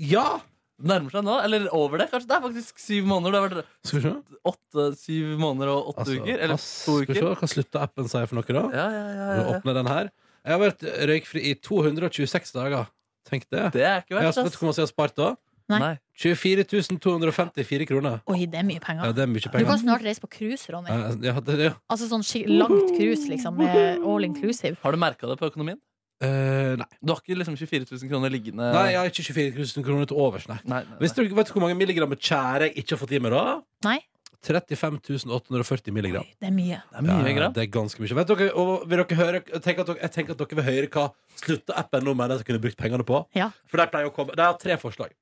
Speaker 2: Ja!
Speaker 3: Nærmer seg nå, eller over det. Kanskje det er faktisk syv måneder. Det har vært
Speaker 2: Skal vi se.
Speaker 3: åtte, syv måneder og åtte
Speaker 2: Altså,
Speaker 3: uker. Eller
Speaker 2: pass.
Speaker 3: to
Speaker 2: Skal vi
Speaker 3: uker.
Speaker 2: se hva slutta appen sier for noe, da?
Speaker 3: Ja, ja, ja,
Speaker 2: Nå
Speaker 3: ja, ja.
Speaker 2: åpner den her. Jeg har vært røykfri i 226 dager. Tenk det.
Speaker 3: Det er ikke
Speaker 2: Jeg har
Speaker 3: verst.
Speaker 2: spurt hvor mye jeg har spart da.
Speaker 8: Nei.
Speaker 3: Nei.
Speaker 2: 24 254 kroner.
Speaker 8: Oi, det er
Speaker 2: Ja,
Speaker 8: mye penger.
Speaker 2: det er mye
Speaker 8: Du
Speaker 2: penger.
Speaker 8: kan snart reise på cruise, Ronny.
Speaker 2: Ja, ja, det, ja.
Speaker 8: Altså sånn skik- langt cruise, liksom, med all inclusive.
Speaker 3: Har du merka det på økonomien?
Speaker 2: Eh, nei.
Speaker 3: Du har ikke liksom 24 000 kroner liggende
Speaker 2: nei, jeg har ikke 24 000 kroner til overs, nei.
Speaker 3: Nei, nei, nei.
Speaker 2: Hvis du vet du hvor mange milligram med tjære jeg ikke har fått i meg, da?
Speaker 8: Nei,
Speaker 2: 35 840 milligram.
Speaker 8: det er mye.
Speaker 3: Det er mye
Speaker 2: Ja,
Speaker 3: grann.
Speaker 2: det er ganske mye. Vet dere, og vil dere høre, jeg, tenker at dere, jeg tenker at dere vil høre hva slutte-appen nå mener jeg kunne brukt pengene på.
Speaker 8: Ja.
Speaker 2: For der pleier å komme De har tre forslag.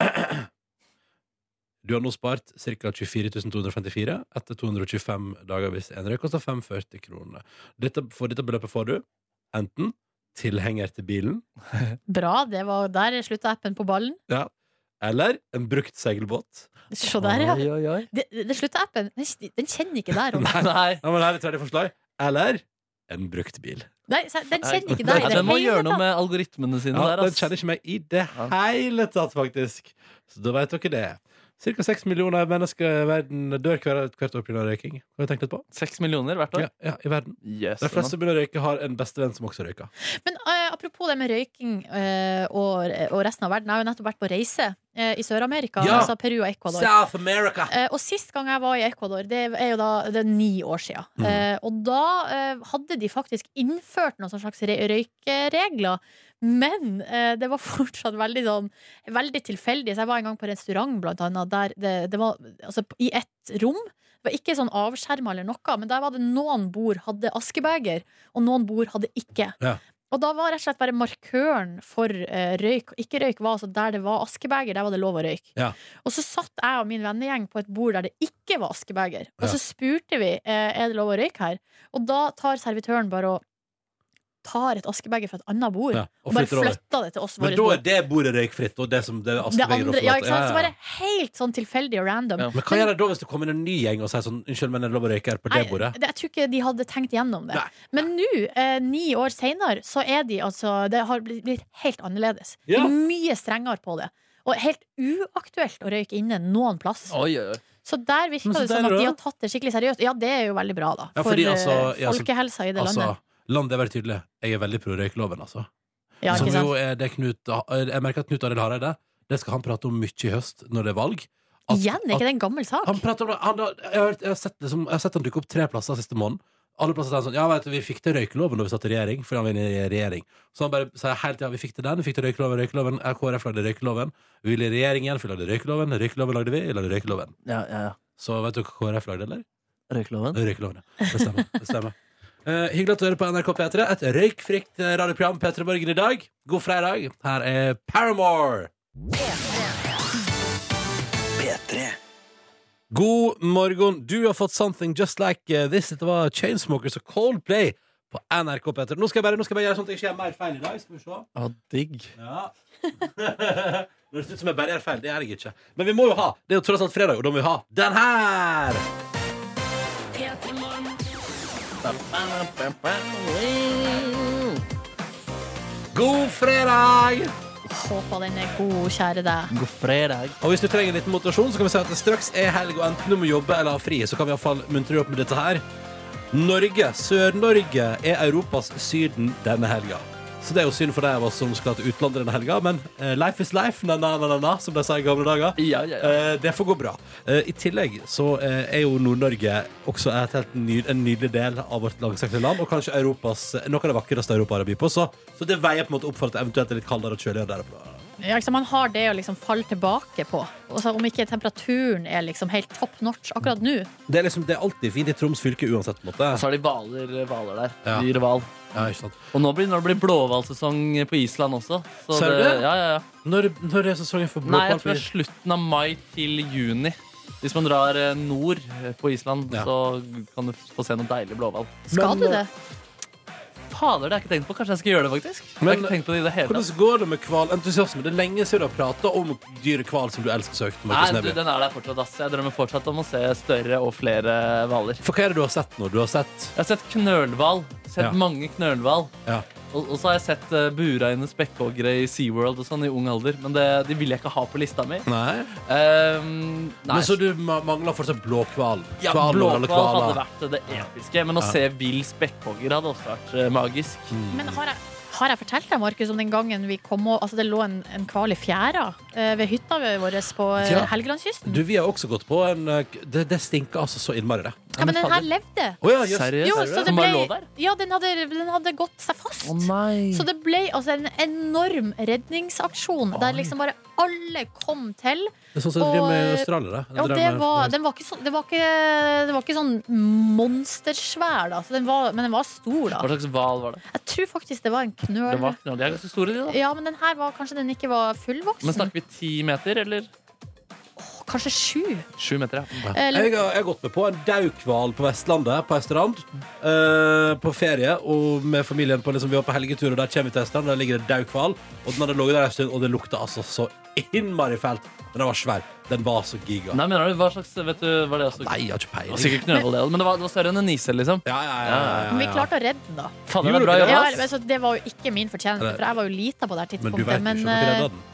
Speaker 2: Du har nå spart ca. 24 254 etter 225 dager hvis en røyk koster 540 kroner. Dette, for dette beløpet får du enten tilhenger til bilen
Speaker 8: Bra. Det var der slutta appen på ballen.
Speaker 2: ja, eller en brukt seilbåt.
Speaker 8: Se der, ja.
Speaker 3: Oi, oi, oi.
Speaker 8: Det, det slutter appen. Den, den kjenner ikke der. altså. Ronny.
Speaker 2: Nei, nei,
Speaker 3: Nei.
Speaker 2: men her er tredje forslag. Eller en brukt bil.
Speaker 8: Nei, se- den kjenner ikke
Speaker 3: Nei,
Speaker 8: deg. i
Speaker 3: den må
Speaker 8: hele
Speaker 3: gjøre noe
Speaker 8: tatt.
Speaker 3: med algoritmene sine
Speaker 2: Ja,
Speaker 3: der.
Speaker 2: den
Speaker 3: ass.
Speaker 2: kjenner ikke meg i det
Speaker 3: Ja.
Speaker 2: hele tatt, faktisk. Så da vet dere det. Cirka seks millioner mennesker i verden dør hver, hvert år pga. røyking. Har du tenkt litt på?
Speaker 3: Seks millioner hvert år.
Speaker 2: Ja, ja, i verden.
Speaker 3: Yes,
Speaker 2: De fleste som begynner å røyke, har en bestevenn som også røyker.
Speaker 8: Men eh, apropos det med røyking eh, og, og resten av verden. Jeg har jo nettopp vært på reise eh, i Sør-Amerika,
Speaker 2: Ja.
Speaker 8: altså Peru og Ecuador.
Speaker 2: South America!
Speaker 8: Eh, og sist gang jeg var i Ecuador, det er jo da det er ni år siden.
Speaker 2: Mm.
Speaker 8: Eh, og da eh, hadde de faktisk innført noen sånne slags re- røykeregler. Men eh, det var fortsatt veldig, sånn, veldig tilfeldig. Så jeg var en gang på restaurant, blant annet, der det, det var altså, i ett rom. Det var ikke sånn avskjerma eller noe, men der var det noen bord hadde askebeger, og noen bord hadde ikke.
Speaker 2: Ja.
Speaker 8: Og da var rett og slett bare markøren for eh, røyk og ikke røyk var altså der det var askebeger, der var det lov å røyke. Og så satt jeg og min vennegjeng på et bord der det ikke var askebeger. Og så spurte vi eh, er det lov å røyke her. Og da tar servitøren bare og tar et askebeger fra et annet bord.
Speaker 2: Ja,
Speaker 8: og, bare flytter det til oss.
Speaker 2: Men da
Speaker 8: vårt bord.
Speaker 2: er det bordet røykfritt, og det som det er
Speaker 8: det
Speaker 2: askebeger og
Speaker 8: andre, ja,
Speaker 2: forlatt.
Speaker 8: ikke sant? Så
Speaker 2: Ja, ja.
Speaker 8: bare helt sånn tilfeldig og random.
Speaker 3: Ja.
Speaker 2: Men hva gjør de da hvis det kommer en ny gjeng og sier sånn Unnskyld, men er det lov å røyke her på det
Speaker 8: Nei,
Speaker 2: bordet?
Speaker 8: det- jeg tror ikke de hadde tenkt gjennom det.
Speaker 2: Nei.
Speaker 8: Men nå, eh, ni år seinere, så er de altså Det har blitt, blitt helt annerledes.
Speaker 2: Ja.
Speaker 8: De er mye strengere på det. Og helt uaktuelt å røyke inne noen plass.
Speaker 3: Oi, oi, oi.
Speaker 8: Så der virker
Speaker 2: Men så
Speaker 8: det
Speaker 2: der
Speaker 8: som at de
Speaker 2: da?
Speaker 8: har tatt det skikkelig seriøst. Ja, det er jo veldig bra, da.
Speaker 2: Ja,
Speaker 8: For
Speaker 2: fordi
Speaker 8: eh,
Speaker 2: altså- ja, altså-
Speaker 8: folkehelsa i det
Speaker 2: Altså,
Speaker 8: landet.
Speaker 2: landet er veldig tydelig. Jeg er veldig pro røykeloven, altså.
Speaker 8: Ja,
Speaker 2: som
Speaker 8: ikke sant?
Speaker 2: jo er det Knut Jeg merker at Knut Arild Hareide Det skal han prate om mye i høst når det er valg. At-
Speaker 8: Igjen, er ikke det en gammel
Speaker 2: at,
Speaker 8: sak?
Speaker 2: han prater om det han, har- jeg, har, hørt- jeg, har sett det som, jeg har sett han dukke opp tre plasser siste måned. Alle plasser sier han sånn Ja, vet du, vi fikk til røykeloven da vi satt i regjering. Fordi han var inne i regjering Så han bare sier hele tida vi fikk til den, vi fikk til røykeloven, røykeloven. eh, KrF lagde røykeloven. Vi ville i regjering igjen, for vi lagde røykeloven. Røykeloven lagde vi, vi lagde røykeloven.
Speaker 3: Ja, ja, ja.
Speaker 2: Så vet du hva KrF lagde, eller?
Speaker 3: Røykeloven.
Speaker 2: Røykeloven, ja. Det stemmer. Det stemmer. Eh, hyggelig at du hører på NRK P3. Et røykfritt eh, radioprogram P3 Morgen i dag. God fredag. Her er Paramore. God morgen. Du har fått Something Just Like eh, This. Dette var Chainsmokers og Coldplay på NRK P3. Nå skal jeg bare, nå skal jeg bare gjøre sånn at jeg ikke gjør mer feil i dag. Skal vi se.
Speaker 3: Ja, digg.
Speaker 2: Ja. Nå høres det ut som jeg bare gjør feil. Det gjør jeg ikke. Men vi må jo ha. Det er jo tross alt fredag, og da må vi ha den her.
Speaker 1: P3 Morgen.
Speaker 3: Ba-ba-ba-ba-ba.
Speaker 2: God fredag!
Speaker 8: Håper den er god, kjære deg.
Speaker 3: God fredag.
Speaker 2: Og hvis du trenger litt motivasjon, så kan vi si at det straks er helg, og enten du må jobbe eller ha fri, så kan vi iallfall muntre deg opp med dette her. Norge, Sør-Norge, er Europas Syden denne helga. Så det er jo synd for deg av oss som skal til utlandet denne helga, men eh, life is life, na-na-na-na, som de sa i gamle dager.
Speaker 3: Ja, ja, ja.
Speaker 2: Eh, det får gå bra. Eh, I tillegg så eh, er jo Nord-Norge også et helt ny, en nydelig del av vårt langstrakte land, og kanskje Europas, eh, noe av det vakreste Europa har å by på. Så, så det veier på en måte opp for at det eventuelt er litt kaldere og kjøligere der oppe.
Speaker 8: Ja, ikke sant, man har det å liksom falle tilbake på. Og så om ikke temperaturen er liksom helt top notch akkurat nå.
Speaker 2: Det er, liksom, det er alltid fint i Troms fylke uansett, på en måte.
Speaker 3: Så er det hvaler hvaler der.
Speaker 2: Ja.
Speaker 3: Dyr hval.
Speaker 2: Ja, ikke sant.
Speaker 3: Og nå blir når det blir blåhvalsesong på Island også. Så
Speaker 2: Ser du det?
Speaker 3: Ja, ja, ja.
Speaker 2: Når, når er sesongen for
Speaker 3: Nei, jeg
Speaker 2: blåkål?
Speaker 3: tror det er slutten av mai til juni. Hvis man drar eh, nord på Island,
Speaker 2: Ja.
Speaker 3: så kan du få se noe deilig blåhval.
Speaker 2: Men, eh,
Speaker 8: Skal du det?
Speaker 3: eh, Fader, det har jeg ikke tenkt på. Kanskje jeg skal gjøre det, faktisk. jeg
Speaker 2: Men-
Speaker 3: har ikke tenkt på det i det hele tatt.
Speaker 2: Hvordan går det med hvalentusiasme? Det er lenge siden du har prata om dyre hval som du elsker så høyt.
Speaker 3: Nei,
Speaker 2: Markus
Speaker 3: du,
Speaker 2: Neby.
Speaker 3: den er der fortsatt. Ass. Jeg drømmer fortsatt om å se større og flere eh, hvaler.
Speaker 2: For hva er det du har sett nå? Du har sett
Speaker 3: Jeg har sett knølhval. Sett
Speaker 2: Ja.
Speaker 3: mange knølhval.
Speaker 2: Ja.
Speaker 3: Og, og så har jeg sett uh, buregne spekkhoggere i SeaWorld og sånn i ung alder. Men det, de vil jeg ikke ha på lista mi.
Speaker 2: Nei.
Speaker 3: Ehm, nei.
Speaker 2: Men så du ma- mangler fortsatt blåkval?
Speaker 3: ja,
Speaker 2: Kvaler eller
Speaker 3: Blåhval hadde
Speaker 2: kvaler?
Speaker 3: vært det episke. Men å
Speaker 2: Ja.
Speaker 3: se vill spekkhogger hadde også vært eh, magisk.
Speaker 8: Men har jeg, har jeg fortalt deg, Markus, om den gangen vi kom og Altså, det lå en, en hval i fjæra eh, ved hytta vår på eh,
Speaker 2: Ja.
Speaker 8: Helgelandskysten.
Speaker 2: Du, vi har også gått på en eh, k- Det, det stinker altså så innmari, det.
Speaker 8: Ja, men den her levde.
Speaker 2: Å ja, jøss.
Speaker 3: Seriøst?
Speaker 8: Jo,
Speaker 3: Ser du
Speaker 8: så
Speaker 3: det?
Speaker 8: det
Speaker 3: Som bare lå
Speaker 8: ble,
Speaker 3: der?
Speaker 8: ja, den hadde, den hadde gått seg fast.
Speaker 3: nei.
Speaker 8: Så det ble altså en enorm redningsaksjon der liksom bare alle kom til.
Speaker 2: Det er sånn som jeg driver med i
Speaker 8: Og-
Speaker 2: Australia. det. Jeg
Speaker 8: Og det
Speaker 2: driver med-
Speaker 8: var, den var ikke sånn, det var ikke, det var ikke sånn monstersvær, da. Så den var, men den var stor,
Speaker 3: Hva
Speaker 8: da.
Speaker 3: slags hval var det?
Speaker 8: Jeg tror faktisk det var en knøl.
Speaker 3: Det var knall. De er ganske store, de, da.
Speaker 8: Ja, men den her var kanskje den ikke var
Speaker 3: Men
Speaker 8: fullvoksen.
Speaker 3: snakker vi ti meter, eller?
Speaker 8: Kanskje sju.
Speaker 3: Sju meter, ja.
Speaker 8: Eller,
Speaker 2: Jeg har, jeg har gått med på en daukhval på Vestlandet, på Østerland. eh, på ferie og med familien. På, liksom, vi var på helgetur, og der kommer vi til Østerland. Der ligger det daukhval. Og den hadde ligget der en stund, og det lukta altså så innmari fælt. Men den var svær. Den var så giga. Nei,
Speaker 3: Nei, mener du, hva slags, vet du, var det også?
Speaker 2: jeg har ikke
Speaker 3: Det var
Speaker 2: peiling.
Speaker 3: Sikkert knølhval, det, men det var, det var større enn en isel, liksom.
Speaker 2: Ja, ja, ja, ja, ja,
Speaker 8: vi
Speaker 2: ja.
Speaker 8: klarte å redde den, da.
Speaker 3: Fader, det
Speaker 2: Gjorde
Speaker 3: er bra
Speaker 2: dere det?
Speaker 8: Ja,
Speaker 3: jobba.
Speaker 8: men
Speaker 3: ass.
Speaker 8: så det var jo ikke min fortjeneste, for jeg var jo lita på det her
Speaker 2: Men du
Speaker 8: tidspunktet.
Speaker 2: veit
Speaker 8: Men,
Speaker 2: ikke om dere
Speaker 8: eh,
Speaker 2: redda den.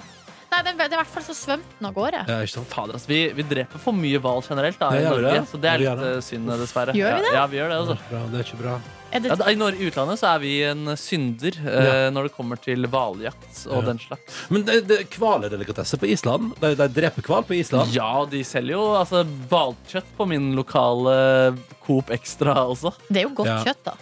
Speaker 8: nei, den, det er i hvert fall så svømte den av gårde.
Speaker 2: Ja, ikke sant?
Speaker 3: Fader, ass, vi, vi dreper for mye hval generelt da,
Speaker 2: Ja,
Speaker 3: i
Speaker 2: gjør vi
Speaker 3: Norge,
Speaker 2: det?
Speaker 3: så det er
Speaker 2: Vi gjør
Speaker 3: litt eh, synd, dessverre.
Speaker 8: Gjør vi
Speaker 3: det? Ja, vi gjør det, altså.
Speaker 2: Bra, det er ikke bra.
Speaker 8: Er det,
Speaker 3: Ja, da, I Nor- i utlandet så er vi en synder eh, når det kommer til hvaljakt og den slags.
Speaker 2: Men det, det, hval er delikatesse på Island. De, de dreper hval på Island.
Speaker 3: Ja, og de selger jo altså hvalkjøtt på min lokale Coop Extra også.
Speaker 8: det er jo godt
Speaker 2: Ja.
Speaker 8: kjøtt, da.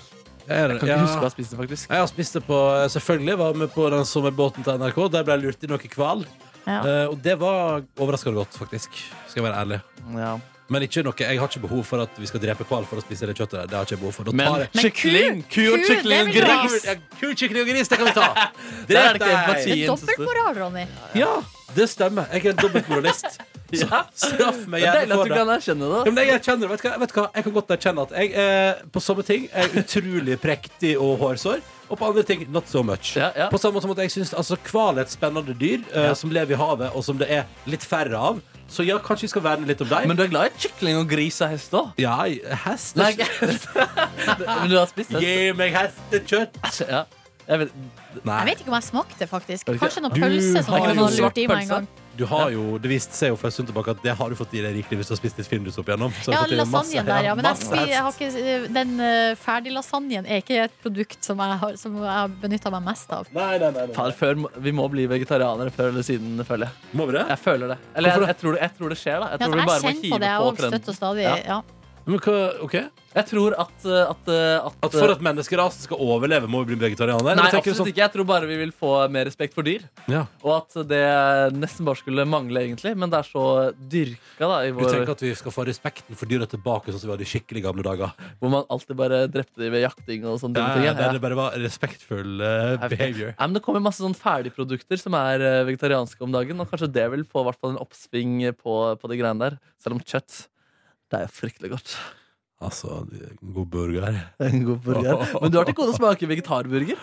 Speaker 2: Er det-
Speaker 3: Kan ikke
Speaker 2: ja.
Speaker 3: huske å ha spist det, faktisk.
Speaker 2: Jeg har spist det på Selvfølgelig var jeg med på den sommerbåten til NRK. Der ble jeg lurt i noe hval.
Speaker 8: Ja.
Speaker 2: Eh, og det var overraskende godt, faktisk. Skal jeg være ærlig.
Speaker 3: Ja.
Speaker 2: Men ikke noe, jeg har ikke behov for at vi skal drepe hval for å spise det kjøttet der. Det har ikke jeg behov for. Da tar
Speaker 3: Men
Speaker 2: jeg
Speaker 8: Men
Speaker 3: kykling!
Speaker 8: ku-
Speaker 3: Ku og
Speaker 8: ku,
Speaker 3: kykling og
Speaker 8: det vil jeg ha.
Speaker 3: gris!
Speaker 2: Ja, Ku, kykling og gris, det kan vi ta!
Speaker 3: Der er det ikke
Speaker 2: Drep deg!
Speaker 3: empati.
Speaker 8: Det er dobbeltmoral, Ronny.
Speaker 2: Ja, det stemmer. Jeg er en dobbeltmoralist.
Speaker 3: Ja.
Speaker 2: Straff meg
Speaker 3: Det er
Speaker 2: gjerne
Speaker 3: deilig at
Speaker 2: for
Speaker 3: du
Speaker 2: det.
Speaker 3: kan erkjenne
Speaker 2: Ja,
Speaker 3: det.
Speaker 2: men jeg erkjenner det. Vet du hva? Vet du hva? Jeg kan godt erkjenne at jeg eh, på sånne ting er utrolig prektig og hårsår, og på andre ting not so much.
Speaker 3: Ja, ja.
Speaker 2: På samme måte som at jeg syns altså, hval er et spennende dyr eh, som lever i havet, og som det er litt færre av. Så ja, kanskje vi skal verne litt om deg.
Speaker 3: Men du er glad i kykling og gris og hest òg?
Speaker 2: ja, hest
Speaker 3: Nei,
Speaker 2: er ikke-
Speaker 3: Men du har spist hest?
Speaker 2: Gi meg hestekjøtt!
Speaker 3: Ja. Jeg vet,
Speaker 8: Jeg vet ikke om jeg smakte det, faktisk.
Speaker 3: Er det ikke-
Speaker 8: Kanskje noen
Speaker 2: Du
Speaker 8: pølse som
Speaker 2: har
Speaker 8: noen
Speaker 2: jo
Speaker 8: har
Speaker 3: svart
Speaker 8: lurt i meg
Speaker 3: pølse.
Speaker 8: en gang.
Speaker 2: Du har jo, Det viste seg jo for en stund tilbake at det har du fått i deg rikelig hvis du har spist litt finlus opp igjennom. Så har
Speaker 8: Ja,
Speaker 2: du fått i deg masse-
Speaker 8: lasagnen der, ja. Men jeg,
Speaker 2: masse
Speaker 8: spi- jeg
Speaker 2: hest.
Speaker 8: har ikke, den eh, ferdige lasagnen er ikke et produkt som jeg har, som jeg har benytta meg mest av.
Speaker 2: Nei, nei, nei, nei.
Speaker 3: faen, før, må- vi må bli vegetarianere før eller siden, føler jeg.
Speaker 2: Må vi det?
Speaker 3: Jeg føler det. Eller jeg,
Speaker 2: Hvorfor
Speaker 3: jeg, tror, det, jeg tror det skjer, da. Jeg
Speaker 8: Ja,
Speaker 3: tror vi
Speaker 8: for jeg
Speaker 3: bare må
Speaker 8: kjenner på
Speaker 3: hive
Speaker 8: det, jeg
Speaker 3: på
Speaker 8: òg. Støtt og
Speaker 3: trenden.
Speaker 8: stadig.
Speaker 3: Ja.
Speaker 8: Ja.
Speaker 2: Men hva, ok
Speaker 3: Jeg tror at, uh, at, uh, at,
Speaker 2: At for at menneskerasen skal overleve, må vi bli vegetarianere?
Speaker 3: Nei, absolutt
Speaker 2: sånn-
Speaker 3: ikke. Jeg tror bare vi vil få mer respekt for dyr.
Speaker 2: Ja.
Speaker 3: Og at det nesten bare skulle mangle, egentlig. Men det er så dyrka, da, i
Speaker 2: Du
Speaker 3: vår,
Speaker 2: tenker at vi skal få respekten for dyra tilbake, sånn som vi hadde i skikkelig gamle dager?
Speaker 3: hvor man alltid bare drepte de ved jakting og sånne
Speaker 2: Ja,
Speaker 3: ting.
Speaker 2: ja,
Speaker 3: ja.
Speaker 2: der det bare var respektfull eh,
Speaker 3: Jeg vet.
Speaker 2: behavior.
Speaker 3: Nei, men det kommer masse sånn ferdigprodukter som er eh, vegetarianske om dagen. Og kanskje det vil få i hvert fall en oppsving på, på de greiene der. Selv om kjøtt det er jo fryktelig godt.
Speaker 2: Altså, en god burger.
Speaker 3: En god burger. Men du har til gode å smake vegetarburger.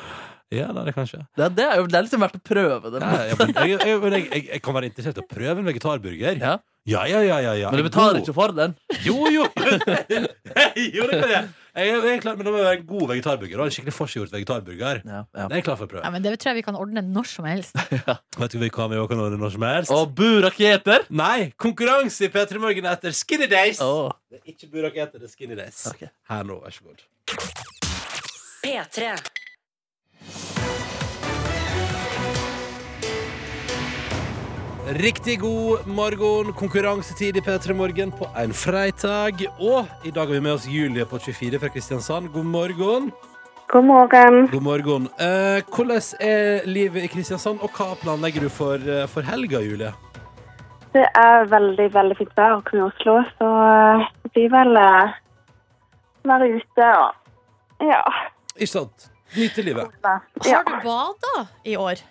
Speaker 2: Ja, det er det kanskje.
Speaker 3: Det, er- det er jo det er liksom verdt å prøve det.
Speaker 2: Ja, ja, men jeg, jeg, men jeg, jeg, jeg kan være interessert i å prøve en vegetarburger.
Speaker 3: Ja.
Speaker 2: ja, ja, ja, ja, ja.
Speaker 3: Men du betaler ikke for den.
Speaker 2: Jo, jo! Jo, det kan jeg. Jeg, er- jeg er klar, men det må være en god vegetarburger. da. En skikkelig forseggjort vegetarburger.
Speaker 3: Ja, ja.
Speaker 2: Det er jeg klar for å prøve.
Speaker 4: Ja, men det tror jeg vi kan ordne når som helst.
Speaker 2: Vet du hva vi kan vi også kan ordne når som helst?
Speaker 3: Og buraketer!
Speaker 2: Nei! Konkurranse i P3 Morgen etter Skinny Days!
Speaker 3: Åh.
Speaker 2: Det er ikke Burak etter, det er Skinny Days.
Speaker 3: Ok.
Speaker 2: Her nå, vær så god.
Speaker 1: P3.
Speaker 2: Riktig god morgen, konkurransetid i P3 Morgen på en fredag. Og i dag har vi med oss Julie på 24 fra Kristiansand. God morgen.
Speaker 9: God morgen.
Speaker 2: God morgen. Eh, hvordan er livet i Kristiansand, og hva planlegger du for, eh, for helga, Julie?
Speaker 9: Det er veldig, veldig fint vær å komme i Oslo, så eh, det blir vel eh, være ute og ja.
Speaker 2: Ikke sant? Nyte livet.
Speaker 9: ja.
Speaker 4: Har du bada i år?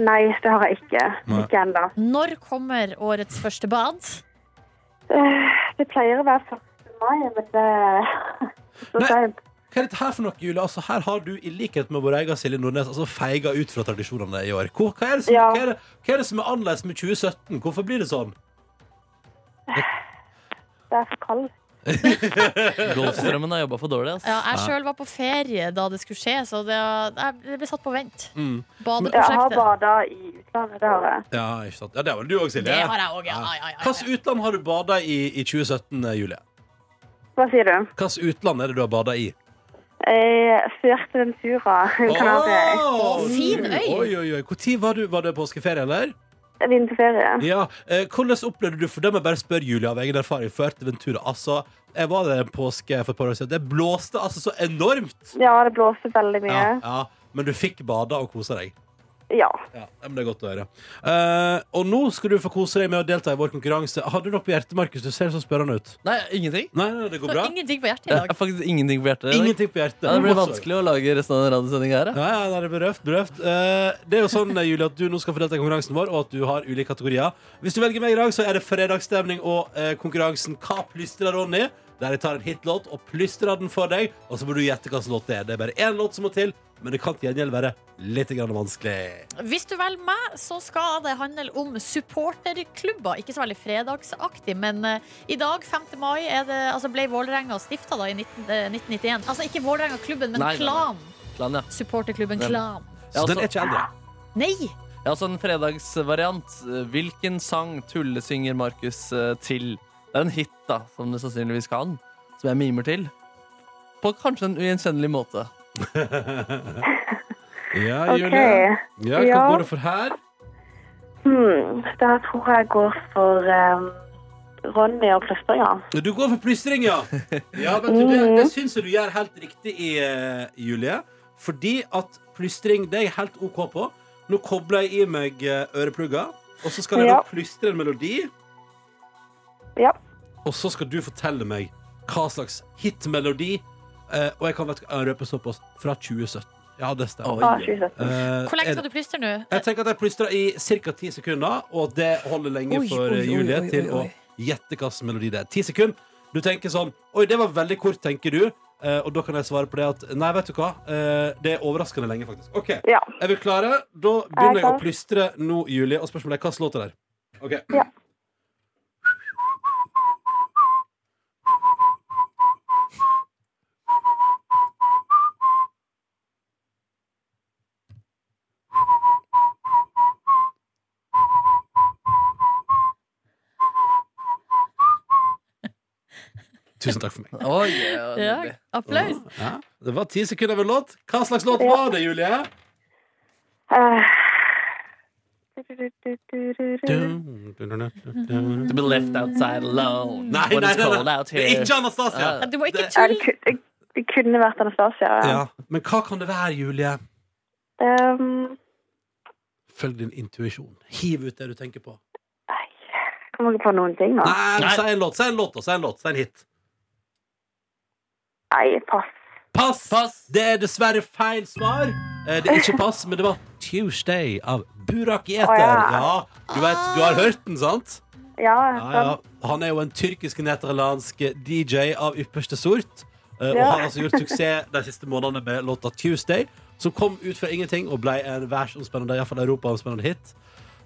Speaker 9: Nei, det har jeg ikke.
Speaker 2: Nei.
Speaker 9: Ikke ennå.
Speaker 4: Når kommer årets første bad?
Speaker 9: Eh, Det pleier å være 1. mai, men det så
Speaker 2: Nei.
Speaker 9: seint.
Speaker 2: Hva er dette her for noe, Julie? Altså, her har du, i likhet med vår egen Silje Nordnes, altså, feiga ut fra tradisjonene i år. Hvor, hva, er det som,
Speaker 9: Ja.
Speaker 2: hva, er det, hva er det som er annerledes med 2017? Hvorfor blir det sånn?
Speaker 9: Det er for kaldt.
Speaker 3: Golfstrømmen har jobba for dårlig. ass.
Speaker 4: Ja, jeg sjøl var på ferie da det skulle skje, så det, det ble satt på vent.
Speaker 2: Mm.
Speaker 9: Ja, Jeg har
Speaker 4: Badeprosjektet.
Speaker 9: bada i utlandet, det har jeg.
Speaker 2: Ja, ikke sant? Ja, det var vel du òg, Silje.
Speaker 4: Det har jeg òg, ja. ja, ja, ja,
Speaker 2: Hvilket utland har du bada i i 2017, eh, Julie?
Speaker 9: Hva sier du?
Speaker 2: Hvilket utland er det du har bada i?
Speaker 9: Eh, Fuerteventura, Kanariøy.
Speaker 2: Åh,
Speaker 4: Fin øy.
Speaker 2: Oi, oi, oi. Hvor tid var du? Var det påskeferie, eller?
Speaker 9: Vinterferie.
Speaker 2: Ja. Eh, hvordan opplevde du for det må jeg bare spørre Julie av egen erfaring. Fuerteventura. Altså, jeg var der en påske for et par år siden. Det blåste altså så enormt.
Speaker 9: Ja, det blåser veldig mye.
Speaker 2: Ja, ja. Men du fikk bada og kosa deg.
Speaker 9: Ja.
Speaker 2: Ja, men Det er godt å høre. Eh, og nå skal du få kose deg med å delta i vår konkurranse. Har du noe på hjertet, Markus? Du ser så spørrende ut.
Speaker 3: Nei, ingenting.
Speaker 2: Nei, nei, det går
Speaker 4: Det
Speaker 2: bra.
Speaker 4: var ingenting på hjertet i
Speaker 3: Jeg
Speaker 4: dag.
Speaker 3: har faktisk ingenting på hjertet. i dag.
Speaker 2: Ingenting på hjertet.
Speaker 3: Ja, det blir
Speaker 2: Også.
Speaker 3: vanskelig å lage resten av den radiosendinga her. da.
Speaker 2: Ja, ja, nei, det er berøft, berøft. Eh, det er jo sånn, eh, Julie, at du nå skal få delta i konkurransen vår, og at du har ulike kategorier. Hvis du velger meg i dag, så er det fredagsstemning og eh, konkurransen Hva plystrer Ronny? Der jeg tar en hitlåt og plystrer den for deg, og så må du gjette hvilken låt det er. Det er bare én låt som må til, men det kan til gjengjeld være litt grann vanskelig.
Speaker 4: Hvis du velger meg, så skal det handle om supporterklubber. Ikke så veldig fredagsaktig, men eh, i dag, 5. mai, er det, altså ble Vålerenga stifta i 19, eh, 1991. Altså ikke Vålerenga-klubben, men
Speaker 3: Nei, nei, nei.
Speaker 4: Klan.
Speaker 3: Klan, ja.
Speaker 4: Supporterklubben
Speaker 3: Nei.
Speaker 4: Klan.
Speaker 2: Så
Speaker 3: Ja,
Speaker 2: den
Speaker 3: altså-
Speaker 2: er ikke eldre.
Speaker 4: Nei!
Speaker 3: Ja, altså en fredagsvariant. Hvilken sang tullesynger Markus eh, til? Det er en hit, da, som du sannsynligvis kan. Som jeg mimer til. På kanskje en ugjenkjennelig måte.
Speaker 2: Ja,
Speaker 9: OK.
Speaker 2: Julie. Ja, hva
Speaker 9: Ja.
Speaker 2: går det for her?
Speaker 9: Hmm, da tror jeg jeg går for um, Ronny og plystringa.
Speaker 2: Du går for plystring, ja. ja vet du,
Speaker 9: Mm.
Speaker 2: det, det syns jeg du gjør helt riktig, i, eh, Julie. Fordi at plystring det er jeg helt OK på. Nå kobler jeg i meg eh, øreplugger, og så skal jeg
Speaker 9: Ja.
Speaker 2: da plystre en melodi.
Speaker 9: Ja.
Speaker 2: Og så skal du fortelle meg hva slags hitmelodi. eh, og jeg kan vet, du hva, jeg røpe såpass fra 2017. Ja, det stemmer.
Speaker 9: Ah, 2017.
Speaker 2: Eh,
Speaker 4: Hvor lenge
Speaker 2: er det-
Speaker 4: skal du plystre nå?
Speaker 2: jeg tenker at jeg plystrer i ca. ti sekunder, og at det holder lenge
Speaker 4: Oi,
Speaker 2: for
Speaker 4: oi, oi,
Speaker 2: Julie
Speaker 4: oi, oi,
Speaker 2: til å
Speaker 4: oi.
Speaker 2: gjette hvilken melodi det er. Ti sekunder. Du tenker sånn Oi, det var veldig kort, tenker du. Eh, og da kan jeg svare på det at Nei, vet du hva. Eh, det er overraskende lenge, faktisk. OK,
Speaker 9: Ja.
Speaker 2: er vi klare? Da begynner
Speaker 9: Jeg er
Speaker 2: jeg å
Speaker 9: klar.
Speaker 2: plystre nå, Julie. Og spørsmålet er hvilken låt det er. OK.
Speaker 9: Ja.
Speaker 2: Tusen takk for meg.
Speaker 3: Oi, ja,
Speaker 4: Ja,
Speaker 3: nydelig.
Speaker 4: applaus.
Speaker 2: Ja, det var ti sekunder med låt. Hva slags låt
Speaker 9: Ja.
Speaker 2: var det, Julie?
Speaker 9: Eh,
Speaker 3: To be left outside alone.
Speaker 2: Nei,
Speaker 3: When
Speaker 2: nei,
Speaker 3: it's
Speaker 2: nei,
Speaker 3: cold
Speaker 2: nei.
Speaker 3: out
Speaker 2: Det
Speaker 3: here.
Speaker 2: er ikke Anastasia.
Speaker 3: Ja.
Speaker 4: Du må ikke
Speaker 9: ja,
Speaker 4: tulle.
Speaker 9: det, ku- det, det kunne vært Anastasia. Ja.
Speaker 2: Ja. Men hva kan det være, Julie?
Speaker 9: Um,
Speaker 2: Følg din intuisjon. Hiv ut det du tenker på.
Speaker 9: nei, jeg kommer ikke på noen ting nå.
Speaker 2: Nei,
Speaker 3: Nei.
Speaker 2: Si en låt, si en låt, da, si en låt, si en hit.
Speaker 9: Nei, pass.
Speaker 2: Pass!
Speaker 3: Pass.
Speaker 2: Det er dessverre feil svar. Eh, Det er ikke pass, men det var Tuesday av Burak Yeter.
Speaker 9: Å, ja.
Speaker 2: ja. du vet, du har hørt den, sant?
Speaker 9: Ja,
Speaker 2: Ja, ja.
Speaker 9: sånn.
Speaker 2: Han er jo en tyrkisk-nederlandsk DJ av ypperste sort. eh, Og
Speaker 9: Ja.
Speaker 2: har altså gjort suksess de siste månedene med låta 'Tuesday', som kom ut fra ingenting og ble en verdensomspennende, iallfall europaomspennende hit.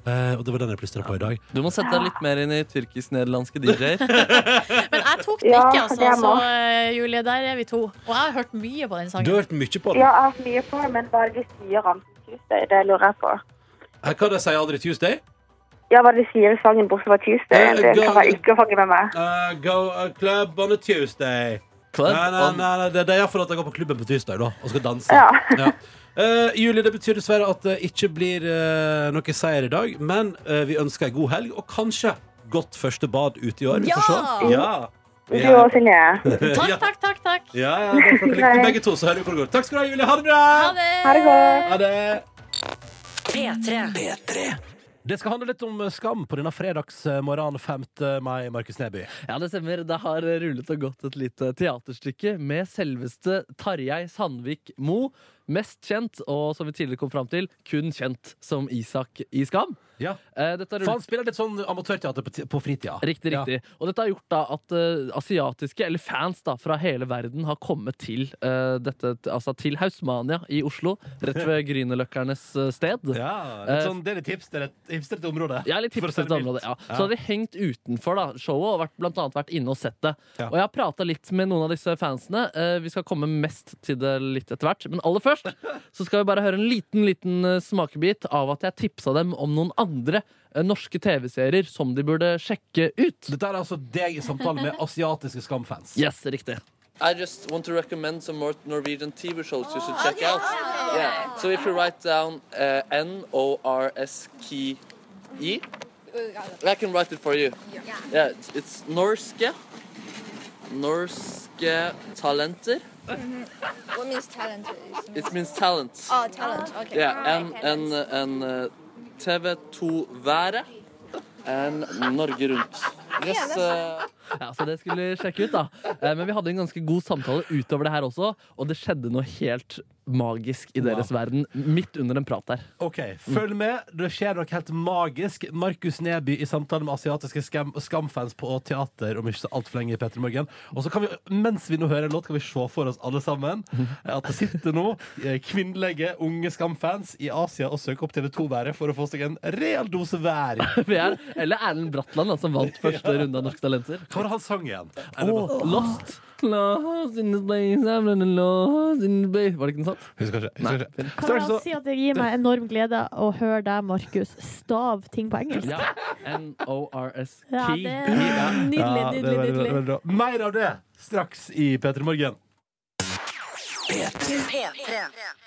Speaker 2: Eh, og det var den jeg plystra på i dag.
Speaker 3: Du må sette deg litt mer inn i tyrkisk-nederlandske DJ-er.
Speaker 4: Men jeg tok den
Speaker 9: sånn. Ja,
Speaker 4: ikke, altså.
Speaker 9: det er
Speaker 4: Så
Speaker 9: bra.
Speaker 4: eh, Julie, der er vi to. Og jeg har hørt mye på den
Speaker 2: Du
Speaker 4: sangen.
Speaker 2: har hørt mye på
Speaker 9: Ja,
Speaker 2: den.
Speaker 9: jeg har hatt mye på, men hva er det de sier om Tuesday? Det lurer jeg på.
Speaker 2: Her kan jeg si aldri Tuesday.
Speaker 9: Ja, hva er det de sier i sangen bortsett fra Tuesday?
Speaker 2: Eh,
Speaker 9: Det
Speaker 2: go-
Speaker 9: kan jeg ikke fange med meg.
Speaker 2: Eh, go a club on a Tuesday.
Speaker 3: Club
Speaker 2: nei, nei,
Speaker 3: on-
Speaker 2: nei, nei, det, det er iallfall at jeg går på klubben på tirsdag da, og skal danse.
Speaker 9: Ja.
Speaker 2: Ja. Eh, Julie, det betyr dessverre at det ikke blir eh, noe seier i dag, men eh, vi ønsker ei god helg, og kanskje godt første bad ute i år. Vi får se. Ja.
Speaker 9: Du
Speaker 2: Ja.
Speaker 9: og Synje.
Speaker 4: Takk, takk, takk. takk.
Speaker 2: Ja, ja, da får dere like det begge to, så hører vi hvor det går. Takk skal du ha, Julie. Ha det bra!
Speaker 4: Ha det.
Speaker 9: Ha det godt.
Speaker 2: Ha det.
Speaker 1: P3.
Speaker 2: Det skal handle litt om eh, skam på denne fredagsmorgenen 5. mai, Markus Neby.
Speaker 3: Ja, det stemmer. Det har rullet og gått et lite teaterstykke med selveste Tarjei Sandvik Mo. Mest kjent, og som vi tidligere kom fram til, kun kjent som Isak i Skam.
Speaker 2: Ja.
Speaker 3: Eh, Dette
Speaker 2: For
Speaker 3: har rullet
Speaker 2: han spiller litt sånn amatørteater på, ti- på fritida.
Speaker 3: Riktig, riktig. Og dette har gjort da at eh, asiatiske, eller fans da, fra hele verden har kommet til eh, dette, altså til Hausmania i Oslo, rett ved Grünerløkkernes eh, sted.
Speaker 2: Ja, litt sånn, det er litt hipster, et hipsterete område.
Speaker 3: Ja, litt
Speaker 2: For å si det
Speaker 3: hipsters
Speaker 2: mildt.
Speaker 3: område. Ja. Så hadde de hengt utenfor da, showet og vært, blant annet vært inne og sett det.
Speaker 2: Ja.
Speaker 3: Og jeg har prata litt med noen av disse fansene. Eh, Vi skal komme mest til det litt etter hvert. Men aller først så skal vi bare høre en liten liten eh, smakebit av at jeg tipsa dem om noen andre eh, norske TV-serier som de burde sjekke ut.
Speaker 2: Dette er altså deg i samtale med asiatiske skamfans.
Speaker 3: Yes, riktig. I just want to recommend some more Norwegian TV shows you should check out. Oh, Yeah. So if you write down uh, N O R S K E, I can write it for you. Yeah, it's, it's norske, norske talenter.
Speaker 10: Mhm. What means talent? is-
Speaker 3: It means talent.
Speaker 10: Oh, talent. Okay.
Speaker 3: Yeah, and and and uh, TV2 Været and Norge Rundt. Yes, eh, ja, så det skulle vi sjekke ut, da. Eh, Men vi hadde en ganske god samtale utover det her også, og det skjedde noe helt magisk i deres verden midt under en prat der.
Speaker 2: Ok, Følg med, det skjer noe helt magisk. Markus Neby i samtale med asiatiske skam skamfans på teater om ikke så altfor lenge. i Petter Morgen. Og så kan vi, Mens vi nå hører en låt, kan vi se for oss alle sammen eh, at det sitter nå eh, kvinnelige unge skamfans i Asia og søker opp TV2-været for å få seg en real dose vær.
Speaker 3: Vi er, eller Erlend Bratland, da, som vant første runde av Norske Talenter.
Speaker 2: Hva var det han sang igjen? Er det
Speaker 3: Og
Speaker 2: bare-
Speaker 3: Lost. Lost in the place, I'm running lost in the place. Var det ikke noe sånt?
Speaker 2: Husker ikke. Husker ikke.
Speaker 5: Kan
Speaker 2: Straks
Speaker 5: jeg
Speaker 2: så
Speaker 5: si at det gir meg enorm glede å høre deg, Markus, stav ting på engelsk?
Speaker 3: Ja. N-O-R-S.
Speaker 5: Ja,
Speaker 3: Key.
Speaker 5: det er
Speaker 3: Ja.
Speaker 5: nydelig,
Speaker 2: Ja, det er
Speaker 5: nydelig,
Speaker 2: veldig bra,
Speaker 5: nydelig.
Speaker 2: veldig bra. Mer av det straks i P3 Morgen.
Speaker 1: P3.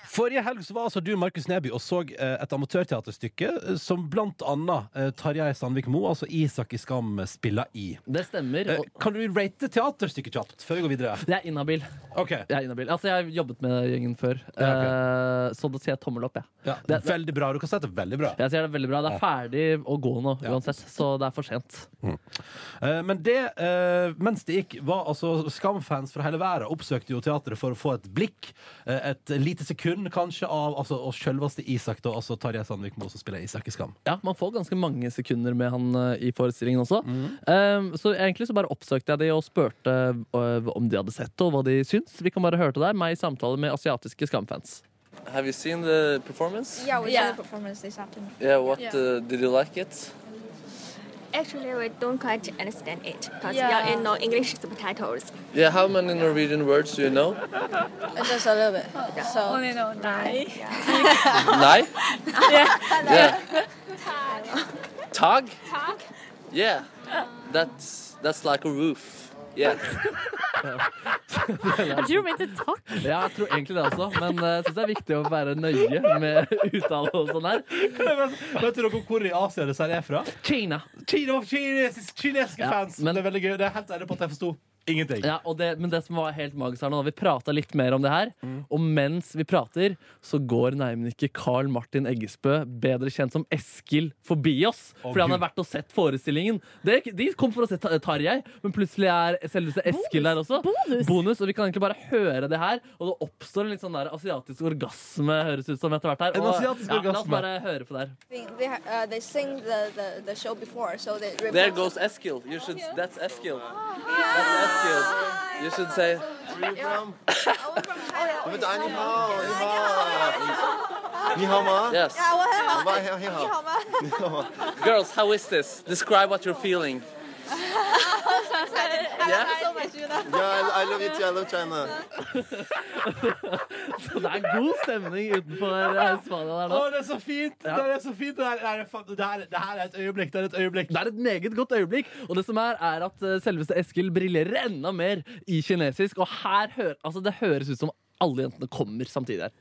Speaker 2: Forrige helg så var altså du Markus Neby og så eh, et amatørteaterstykke eh, som blant annet eh, Tarjei Sandvik Moe, altså Isak i Skam, spiller i.
Speaker 3: Det stemmer.
Speaker 2: Eh,
Speaker 3: og-
Speaker 2: Kan du rate teaterstykket kjapt før vi går videre?
Speaker 3: Jeg er inhabil.
Speaker 2: Ok,
Speaker 3: Jeg er inhabil. Altså, jeg har jobbet med gjengen før, eh, så da sier jeg tommel opp. jeg.
Speaker 2: ja,
Speaker 3: Det-
Speaker 2: Veldig bra. Du kan si at det er veldig bra.
Speaker 3: Jeg sier det er veldig bra. Det er ferdig å gå nå uansett, så det er for sent.
Speaker 2: Eh, Men det, eh, mens det gikk, var altså Skamfans fra hele verden oppsøkte jo teatret for å få et blikk, eh, et lite sekund kanskje, av altså, og selveste Isak, da, altså Tarjei Sandvik Moe som spiller Isak i Skam.
Speaker 3: Ja, Man får ganske mange sekunder med han eh, i forestillingen også. Eh, så egentlig så bare oppsøkte jeg de og spurte eh, om de hadde sett det, og hva de syns. Vi kan bare høre det der, meg i samtale med asiatiske skamfans. Have you seen the performance?
Speaker 10: Yeah, we
Speaker 4: Yeah.
Speaker 10: saw the performance this afternoon.
Speaker 3: Yeah, what, uh,
Speaker 10: Yeah.
Speaker 3: did you like it?
Speaker 11: Actually, we don't quite understand it because
Speaker 10: Yeah.
Speaker 11: there are no English subtitles.
Speaker 3: Yeah, how many Norwegian words do you know?
Speaker 10: Just a little bit. So
Speaker 11: Only know nine.
Speaker 3: Nei? yeah. Tag?
Speaker 11: Tag.
Speaker 3: Yeah. That's, that's like a roof. Yeah.
Speaker 5: Jeg tror meg ikke takk.
Speaker 3: Ja, jeg tror egentlig det også, men eh, jeg synes det er viktig å være nøye med uttale og sånn her.
Speaker 2: Vet du noe hvor i Asia det er fra?
Speaker 3: Kina.
Speaker 2: Kina, kines, kinesiske
Speaker 3: Ja,
Speaker 2: fans!
Speaker 3: men-
Speaker 2: det er veldig gøy. Det er helt ærlig på at jeg forsto ingenting.
Speaker 3: Ja, og det, men det som var helt magisk her nå, vi prata litt mer om det her, og mens vi prater, så går nærmere Carl Martin Eggesbø, bedre kjent som Eskil, forbi oss. fordi han har vært og sett forestillingen. Det, de kom for å se Ta- Tarjei, men plutselig er selveste Eskil der også.
Speaker 5: Bonus!
Speaker 3: Bonus, Og vi kan egentlig bare høre det her, og det oppstår en litt sånn der asiatisk orgasme, høres ut som etter hvert her.
Speaker 2: En
Speaker 3: Og,
Speaker 2: asiatisk
Speaker 3: ja, la oss
Speaker 2: orgasme.
Speaker 3: bare høre på det her.
Speaker 10: they they, ha- uh, they sing the, the, the show before, so they rehearse-
Speaker 3: Eskil. You should, that's Eskil. That's Eskil. You should say
Speaker 12: Where are you from?
Speaker 10: Ah.
Speaker 12: Oh,
Speaker 10: I was from China.
Speaker 12: What's the ni hao? Ni hao. Ni hao ma?
Speaker 3: Yes.
Speaker 10: Yeah, well, hello.
Speaker 12: Bye, hello, hello.
Speaker 10: Ni hao ma.
Speaker 12: Ni hao ma.
Speaker 3: Girls, how is this? Describe what you're feeling.
Speaker 10: I love you so much, you know.
Speaker 12: Yeah, I, I love you too. I love China.
Speaker 3: Så det er god stemning utenfor eh, Spania der
Speaker 2: Å,
Speaker 3: nå.
Speaker 2: det er så fint! Det er så fint. Det her, det her er fa- det her, det her er et øyeblikk. Det er et øyeblikk.
Speaker 3: Det er et meget godt øyeblikk, og det som er, er at eh, selveste Eskil briljerer enda mer i kinesisk, og her hø altså, det høres ut som alle jentene kommer samtidig her.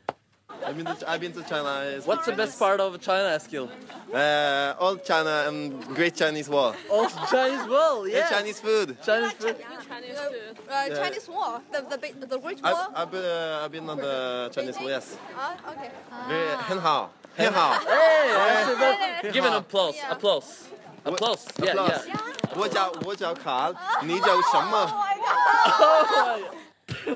Speaker 12: I've been to, I've been to China. I speak
Speaker 3: What's the best part of China, Eskil?
Speaker 12: Uh, all China and great Chinese wall.
Speaker 3: Oh, Chinese wall,
Speaker 12: Great Chinese food.
Speaker 3: Chinese food.
Speaker 10: Uh, Chinese wall, the the big, the Great
Speaker 12: I've,
Speaker 10: Wall.
Speaker 12: I've, been, uh, I've been on the Chinese wall, yes.
Speaker 10: Ah, okay.
Speaker 12: Very- Hen hao. Hen hao.
Speaker 3: Hey, give an applause,
Speaker 10: Yeah.
Speaker 3: applause, applause. Yeah,
Speaker 12: Applause.
Speaker 3: yeah.
Speaker 12: 我叫我叫卡，你叫什么？
Speaker 5: Så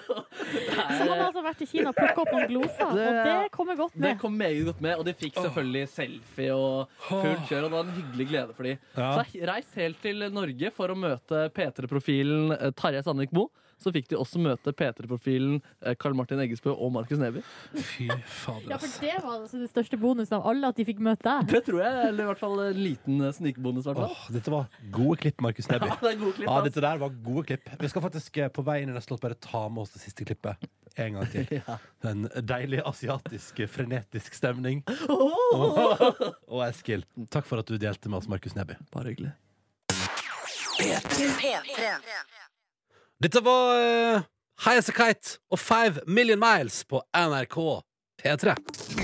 Speaker 5: han har altså vært i Kina og plukka opp noen gloser, og det kommer godt
Speaker 3: Det
Speaker 5: med.
Speaker 3: kom meget godt med, og de fikk selvfølgelig selfie og fullt kjør. Og det var en hyggelig glede for de.
Speaker 2: Ja.
Speaker 3: Så reist helt til Norge for å møte P3-profilen eh, Tarjei Sandvik Moe. Så fikk de også møte P3-profilen eh, Karl Martin Eggesbø og Markus Neby.
Speaker 2: Fy fader,
Speaker 5: Ja, for det var altså den største bonusen av alle, at de fikk møte deg.
Speaker 3: Det tror jeg, eller i hvert fall en liten eh, snikbonus. i hvert fall.
Speaker 2: Åh, dette var gode klipp, Markus Neby.
Speaker 3: Ja, det er gode klipp,
Speaker 2: Ja,
Speaker 3: ass.
Speaker 2: dette der var gode klipp. Vi skal faktisk eh, på vei inn i neste låt bare ta med oss det siste klippet en gang til. En deilig asiatisk eh, frenetisk stemning. Og Eskil, takk for at du delte med oss, Markus Neby.
Speaker 3: Oh! Bare hyggelig.
Speaker 1: P3.
Speaker 2: Dette var eh, High As A Kite og Five Million Miles på NRK P3.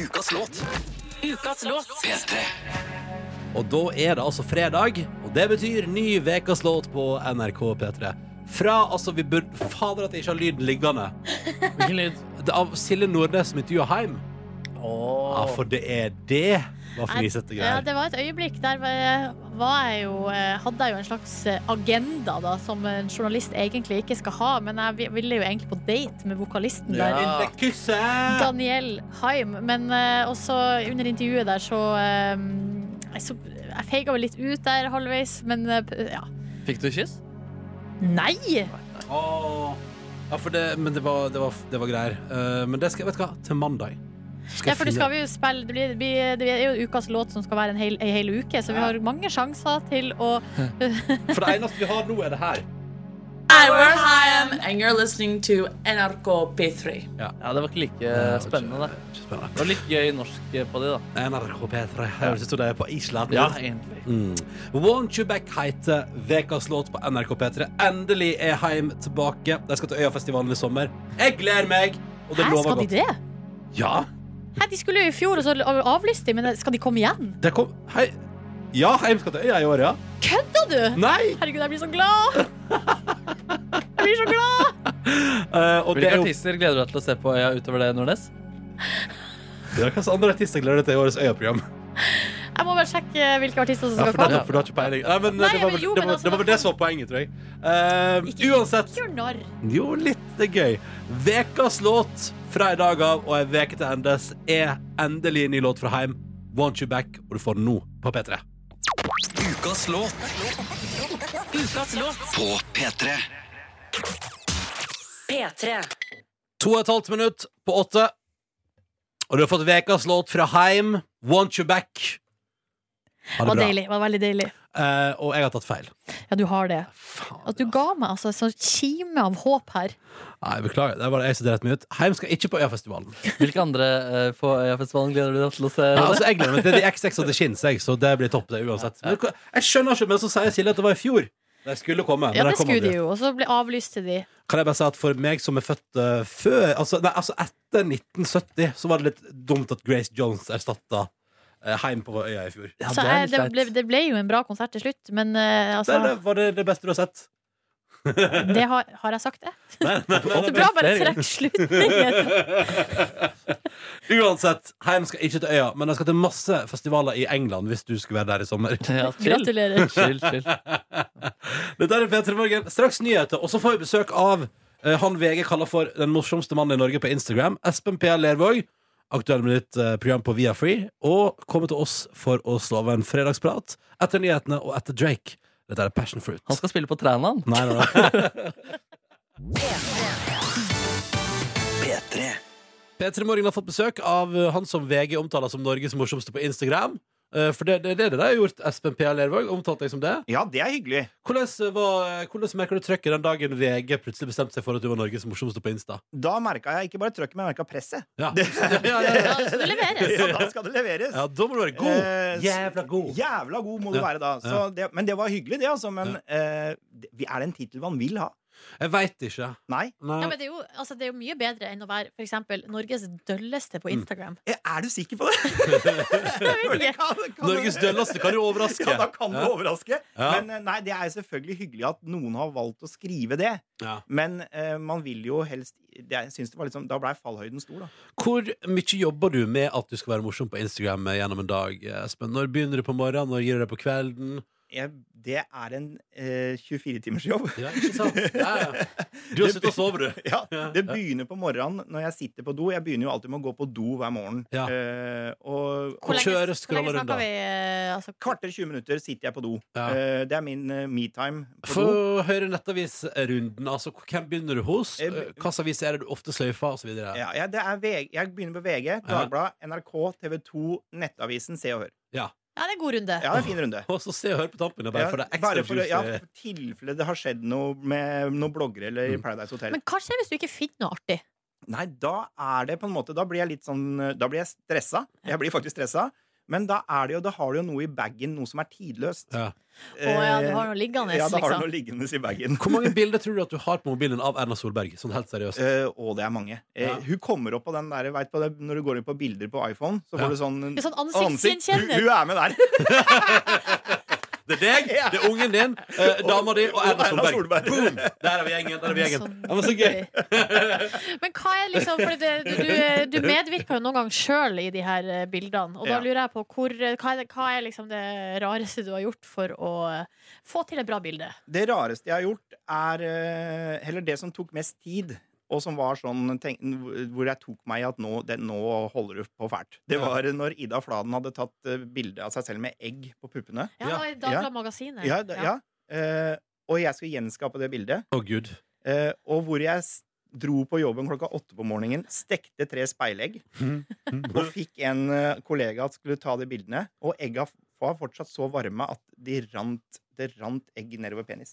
Speaker 1: Ukas låt.
Speaker 2: Og da er det altså fredag, og det betyr ny ukas låt på NRK P3. Fra altså vi burde Fader, at jeg ikke har lyden liggende.
Speaker 3: Hvilken lyd?
Speaker 2: Det er av Silje Nordnes som intervjua Heim. Ja, for det er det. Hva fnisete
Speaker 4: Ja,
Speaker 2: greier.
Speaker 4: det var et øyeblikk. Der var- var jeg jo, eh, hadde jeg jo en slags eh, agenda da, som en journalist egentlig ikke skal ha, men jeg vi- ville jo egentlig på date med vokalisten der.
Speaker 2: In
Speaker 3: Ah.
Speaker 2: the kysset!
Speaker 4: Daniel Haim. Men eh, også under intervjuet der så eh, jeg, så- jeg feiga vel litt ut der halvveis, men eh, p- ja.
Speaker 3: Fikk du kyss?
Speaker 4: Nei!
Speaker 2: Åh. Ja, for det, men det var, det var, det var greier. Eh, men det skal, vet du hva, til mandag.
Speaker 4: Ja, for det, skal vi jo spille, det, blir, det, blir, det er jo ukas låt som skal være en hel, en hel uke, så vi har mange sjanser til å
Speaker 2: For det eneste vi har nå, er det her.
Speaker 1: Hi, we're Haim, and you're listening to NRK P3.
Speaker 3: Ja, det var ikke like spennende, det.
Speaker 2: Ikke spennende.
Speaker 3: Det var litt gøy norsk eh, på de, da.
Speaker 2: NRK P3. Høres ut som det er på Island.
Speaker 3: egentlig.
Speaker 2: Mm. Won't You Back heter Vekas låt på NRK P3. Endelig er Heim tilbake. De skal til Øyafestivalen i sommer. Jeg gleder meg! Og det
Speaker 4: Hæ,
Speaker 2: lover
Speaker 4: skal de
Speaker 2: godt.
Speaker 4: det?
Speaker 2: Ja,
Speaker 4: Hæ, de skulle jo i fjor, og så avlyste de, men skal de komme igjen?
Speaker 2: det kom Hei. Ja, Heim skal til Øya i år, ja.
Speaker 4: Kødda du?
Speaker 2: Nei!
Speaker 4: Herregud, jeg blir så glad! Jeg blir så glad!
Speaker 2: Eh, og det
Speaker 3: Hvilke
Speaker 2: er jo
Speaker 3: artister gleder du deg til å se på øya utover det, Nordnes?
Speaker 2: Ja, Hvilke andre artister gleder du deg til i årets Øya-program?
Speaker 4: Jeg må bare sjekke hvilke artister som
Speaker 2: Ja, for,
Speaker 4: skal
Speaker 2: da,
Speaker 4: komme.
Speaker 2: for da har ikke peiling. Nei, men
Speaker 4: Nei,
Speaker 2: det var
Speaker 4: men
Speaker 2: vel
Speaker 4: jo,
Speaker 2: det,
Speaker 4: men
Speaker 2: var,
Speaker 4: altså,
Speaker 2: det, var vel
Speaker 4: da-
Speaker 2: det som var poenget, tror jeg. Eh, uansett
Speaker 4: Gjør narr.
Speaker 2: Jo, litt det er gøy. Vekas låt fra i dag av og ei veke til endes er endelig en ny låt fra Heim. Want You Back, og du får den nå på P3.
Speaker 1: Ukas låt. På P3. P3.
Speaker 2: To og et halvt minutt på åtte, og du har fått vekas låt fra Heim. Want You Back. Ha
Speaker 4: Det
Speaker 2: det
Speaker 4: var
Speaker 2: bra.
Speaker 4: deilig. det var veldig deilig.
Speaker 2: Eh, og jeg har tatt feil.
Speaker 4: Ja, du har det.
Speaker 2: Faen.
Speaker 4: At du ga meg altså, en sånn kime av håp her.
Speaker 2: Nei, Beklager. Det var det jeg som dreit meg ut. Heim skal ikke på Øyafestivalen.
Speaker 3: Hvilke andre eh, på Øyafestivalen gleder du deg til å se?
Speaker 2: Ja, altså, jeg gleder meg til The XX og The Shins, jeg, så det blir topp, det uansett. Men, hva- jeg skjønner ikke, men så sier Silje at det var i fjor. De skulle komme.
Speaker 4: Ja,
Speaker 2: men de
Speaker 4: det
Speaker 2: kom
Speaker 4: skulle
Speaker 2: aldri.
Speaker 4: de jo, og så ble avlyste de.
Speaker 2: Kan jeg bare si at for meg som er født eh, før altså, nei, altså etter 1970, så var det litt dumt at Grace Jones erstatta uh, Heim på øya i fjor.
Speaker 3: Ja,
Speaker 4: så
Speaker 3: det er
Speaker 4: jeg, det,
Speaker 3: litt
Speaker 4: ble,
Speaker 3: flaut.
Speaker 4: det ble jo en bra konsert til slutt, men eh,
Speaker 2: Det, det
Speaker 4: altså
Speaker 2: var det, det beste du har sett.
Speaker 4: det har, har jeg sagt det?
Speaker 2: Nei, nei, nei,
Speaker 4: Det er
Speaker 2: nei,
Speaker 4: bra, bare trekk slutningen.
Speaker 2: nei. Uansett, Heim skal ikke til øya, men de skal til masse festivaler i England hvis du skulle være der i sommer.
Speaker 3: Ja, chill.
Speaker 4: Gratulerer.
Speaker 3: Chill, chill.
Speaker 2: Dette er P3 Morgen. Straks nyheter. Og så får vi besøk av eh, han VG kaller for den morsomste mannen i Norge på Instagram. Espen P. Lervåg. Aktuell med nytt eh, program på Via Free. Og kommer til oss for å slå av en fredagsprat etter nyhetene og etter Drake. Dette er Passion Fruit.
Speaker 3: Han skal spille på Trænan.
Speaker 2: Nei, nei, nei. P3 Morgen har fått besøk av eh, han som VG omtaler som Norges morsomste på Instagram. Eh, For det det er det dere har gjort, Espen P.A. Lervåg. Omtalt deg som det.
Speaker 8: Ja, det er hyggelig.
Speaker 2: Hvordan, var, hvordan merker du trøkket den dagen VG plutselig bestemte seg for at du var Norges morsomste på Insta?
Speaker 8: Da merka jeg ikke bare trøkket, men jeg merka presset.
Speaker 2: Ja.
Speaker 8: Ja, det skulle leveres. Ja, da skal det leveres.
Speaker 2: Ja, da må du være god.
Speaker 8: Eh,
Speaker 2: jævla god.
Speaker 8: Jævla god må du
Speaker 2: Ja,
Speaker 8: være da. Så
Speaker 2: ja.
Speaker 8: det, men det var hyggelig, det, altså. Men eh, det- er det en tittel man vil ha?
Speaker 2: Jeg veit ikke.
Speaker 8: Nei.
Speaker 4: Ja, men det er, jo, altså, det er jo mye bedre enn å være for eksempel Norges dølleste på Instagram.
Speaker 8: Eh, Er du sikker på det?
Speaker 2: Norges dølleste kan jo overraske.
Speaker 8: Ja, da kan du
Speaker 2: Ja.
Speaker 8: overraske.
Speaker 2: Ja.
Speaker 8: Men eh, nei, det er selvfølgelig hyggelig at noen har valgt å skrive det.
Speaker 2: Ja.
Speaker 8: Men eh, man vil jo helst det, jeg synes det var litt sånn, Da blei fallhøyden stor, da.
Speaker 2: Hvor mye jobber du med at du skal være morsom på Instagram eh, gjennom en dag, Espen? Når begynner du på morgenen, når gir du deg på kvelden?
Speaker 8: Jeg, det er en eh, 24-timersjobb.
Speaker 2: Ja, ikke sant? Ja, ja. Du har
Speaker 8: Det
Speaker 2: sittet og sovet, du.
Speaker 8: Ja, det begynner på morgenen når jeg sitter på do. Jeg begynner jo alltid med å gå på do hver morgen.
Speaker 2: Ja.
Speaker 8: Eh, og
Speaker 4: Hvor lenge- hvor lenge snakker vi? eh, Altså,
Speaker 8: Kvarter 20 minutter sitter jeg på do.
Speaker 2: Ja.
Speaker 8: Eh, det er min uh, metime på
Speaker 2: Få
Speaker 8: do.
Speaker 2: høre nettavisrunden. Altså, hvem begynner du hos? Eh, Hvilken avis er det du ofte sløyfer? Og så videre.
Speaker 8: Ja, jeg, det er VG, jeg begynner på VG, Dagbladet, NRK, TV 2, Nettavisen, Se og Hør.
Speaker 2: Ja.
Speaker 4: Ja, det er en god runde.
Speaker 8: Ja, det er en fin runde.
Speaker 2: Og så se og hør på tampen. det er Bare
Speaker 8: Ja,
Speaker 2: for det er
Speaker 8: bare
Speaker 2: ekstra
Speaker 8: for, å-
Speaker 2: juicy.
Speaker 8: ja, for tilfelle det har skjedd noe med noen bloggere eller
Speaker 2: Mm.
Speaker 8: i Paradise Hotel.
Speaker 4: Men hva skjer hvis du ikke finner noe artig?
Speaker 8: Nei, da er det på en måte Da blir jeg litt sånn Da blir jeg stressa. Jeg blir faktisk stressa. Men da er det jo Da har du jo noe i bagen, noe som er tidløst.
Speaker 2: Ja.
Speaker 4: Å ja, du har noe liggende,
Speaker 8: eh, Ja, da har
Speaker 4: liksom.
Speaker 8: du noe liggende i bagen.
Speaker 2: Hvor mange bilder tror du at du har på mobilen av Erna Solberg? Sånn helt seriøst.
Speaker 8: Eh, og det er mange. Eh, Hun kommer opp på den der vet på det, Når du går inn på bilder på iPhone, så får du sånn,
Speaker 4: Det er sånn ansiktsgjenkjenning.
Speaker 8: Hun, hun er med der.
Speaker 2: Det er deg, det er ungen din, eh, dama di og Erna
Speaker 8: Erna
Speaker 2: Solberg. Boom! Der er vi gjengen. Der er vi
Speaker 8: Sånn.
Speaker 2: gjengen.
Speaker 4: sånn-
Speaker 2: Det var så gøy.
Speaker 4: Men hva er liksom For det, du, du, du medvirker jo noen gang sjøl i de her eh, bildene. Og da
Speaker 8: Ja.
Speaker 4: lurer jeg på hvor, hva, er det, hva er liksom det rareste du har gjort for å eh, få til et bra bilde?
Speaker 8: Det rareste jeg har gjort, er eh, heller det som tok mest tid. Og som var sånn tenk, hvor jeg tok meg i at nå, det, nå holder du på fælt. Det
Speaker 2: Ja.
Speaker 8: var når Ida Fladen hadde tatt eh, bilde av seg selv med egg på puppene.
Speaker 4: Ja, da i Dagbladet Magasinet.
Speaker 8: Ja, da-
Speaker 4: Ja.
Speaker 8: ja. Eh, og jeg skulle gjenskape det bildet.
Speaker 2: Å, gud.
Speaker 8: Eh, og hvor jeg s- dro på jobben klokka åtte på morgenen, stekte tre speilegg. Og fikk en eh, kollega at skulle ta de bildene. Og egga f- var fortsatt så varme at de rant, det rant egg nedover penis.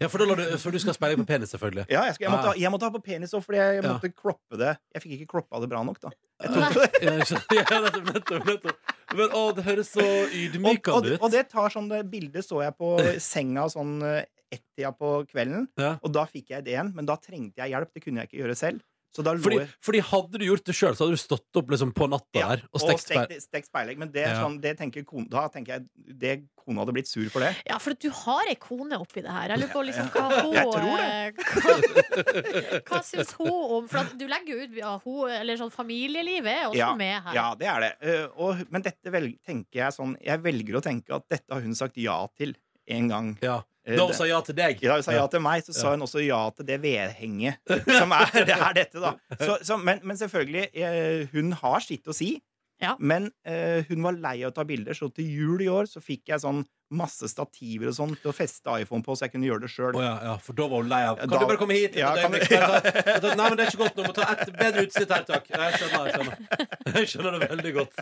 Speaker 2: Ja, for, da la du, for du skal speile på penis, selvfølgelig.
Speaker 8: Ja, jeg, skulle, jeg, måtte, ha- jeg måtte ha på penis òg, fordi jeg
Speaker 2: Ah. Ja.
Speaker 8: måtte kloppe det. Jeg fikk ikke kloppa det bra nok, da. Jeg
Speaker 2: Nei.
Speaker 8: tok det.
Speaker 2: Ja, ja, nettopp, nettopp, nettopp. Men å, det høres så
Speaker 8: og,
Speaker 2: ydmykende ut.
Speaker 8: og det tar sånn det bildet så jeg på senga sånn eh, ett-tida på kvelden,
Speaker 2: Ja.
Speaker 8: og da fikk jeg ideen, men da trengte jeg hjelp. Det kunne jeg ikke gjøre selv. Så da lå
Speaker 2: Fordi,
Speaker 8: jeg
Speaker 2: fordi hadde du gjort det sjøl, så hadde du stått opp liksom på natta der og
Speaker 8: og
Speaker 2: stekt speil.
Speaker 8: stekte- stekt speilegg. Men det, er
Speaker 2: Ja.
Speaker 8: sånn, det tenker kona, da tenker jeg det kona hadde blitt sur for det.
Speaker 4: Ja, for du har ei kone oppi det her. Jeg lurer på liksom hva hun
Speaker 8: Jeg tror
Speaker 4: eh, Hva, hva syns hun om For at du legger jo ut ja, hun, eller sånn familielivet er også
Speaker 8: ja,
Speaker 4: med her.
Speaker 8: ja, det er det. Eh, og, men dette velg, tenker jeg sånn Jeg velger å tenke at dette har hun sagt ja til en gang.
Speaker 2: Ja.
Speaker 8: Eh,
Speaker 2: Da hun
Speaker 8: det-
Speaker 2: sa ja til deg.
Speaker 8: Da hun sa ja til meg, så sa
Speaker 2: Ja.
Speaker 8: hun også ja til det vedhenget som er, det er dette, da. Så, så, men, men selvfølgelig, eh, hun har sitt å si.
Speaker 4: Ja.
Speaker 8: Men eh, hun var lei av å ta bilder, så til jul i år så fikk jeg sånn masse stativer og sånn til å feste iPhone på, så jeg kunne gjøre det sjøl.
Speaker 2: Å ja, ja, for da var hun lei av Kan
Speaker 8: Da-
Speaker 2: du bare komme hit?
Speaker 8: Ja,
Speaker 2: et
Speaker 8: kan du-
Speaker 2: øyeblikk? Bare ta- bare ta- Nei, men det er ikke godt nå. Må ta et bedre utsikt her, takk. Nei, Jeg skjønner, jeg skjønner. Jeg skjønner det veldig godt.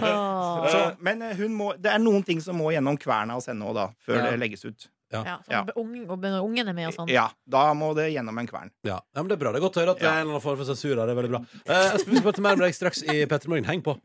Speaker 8: Så, men eh, hun må, det er noen ting som må gjennom kverna hos henne òg, da, før
Speaker 2: Ja.
Speaker 8: det legges ut.
Speaker 4: Ja, sånn, ung- og Når ungen er med og sånn.
Speaker 8: Ja, da må det gjennom en kvern.
Speaker 2: Ja, ja, men Det er bra. Det er godt å høre at det er en eller annen form for sensur her. Det er veldig bra. Eh, Espen, vi skal prate mer med deg straks i P3 Morgen. Heng på.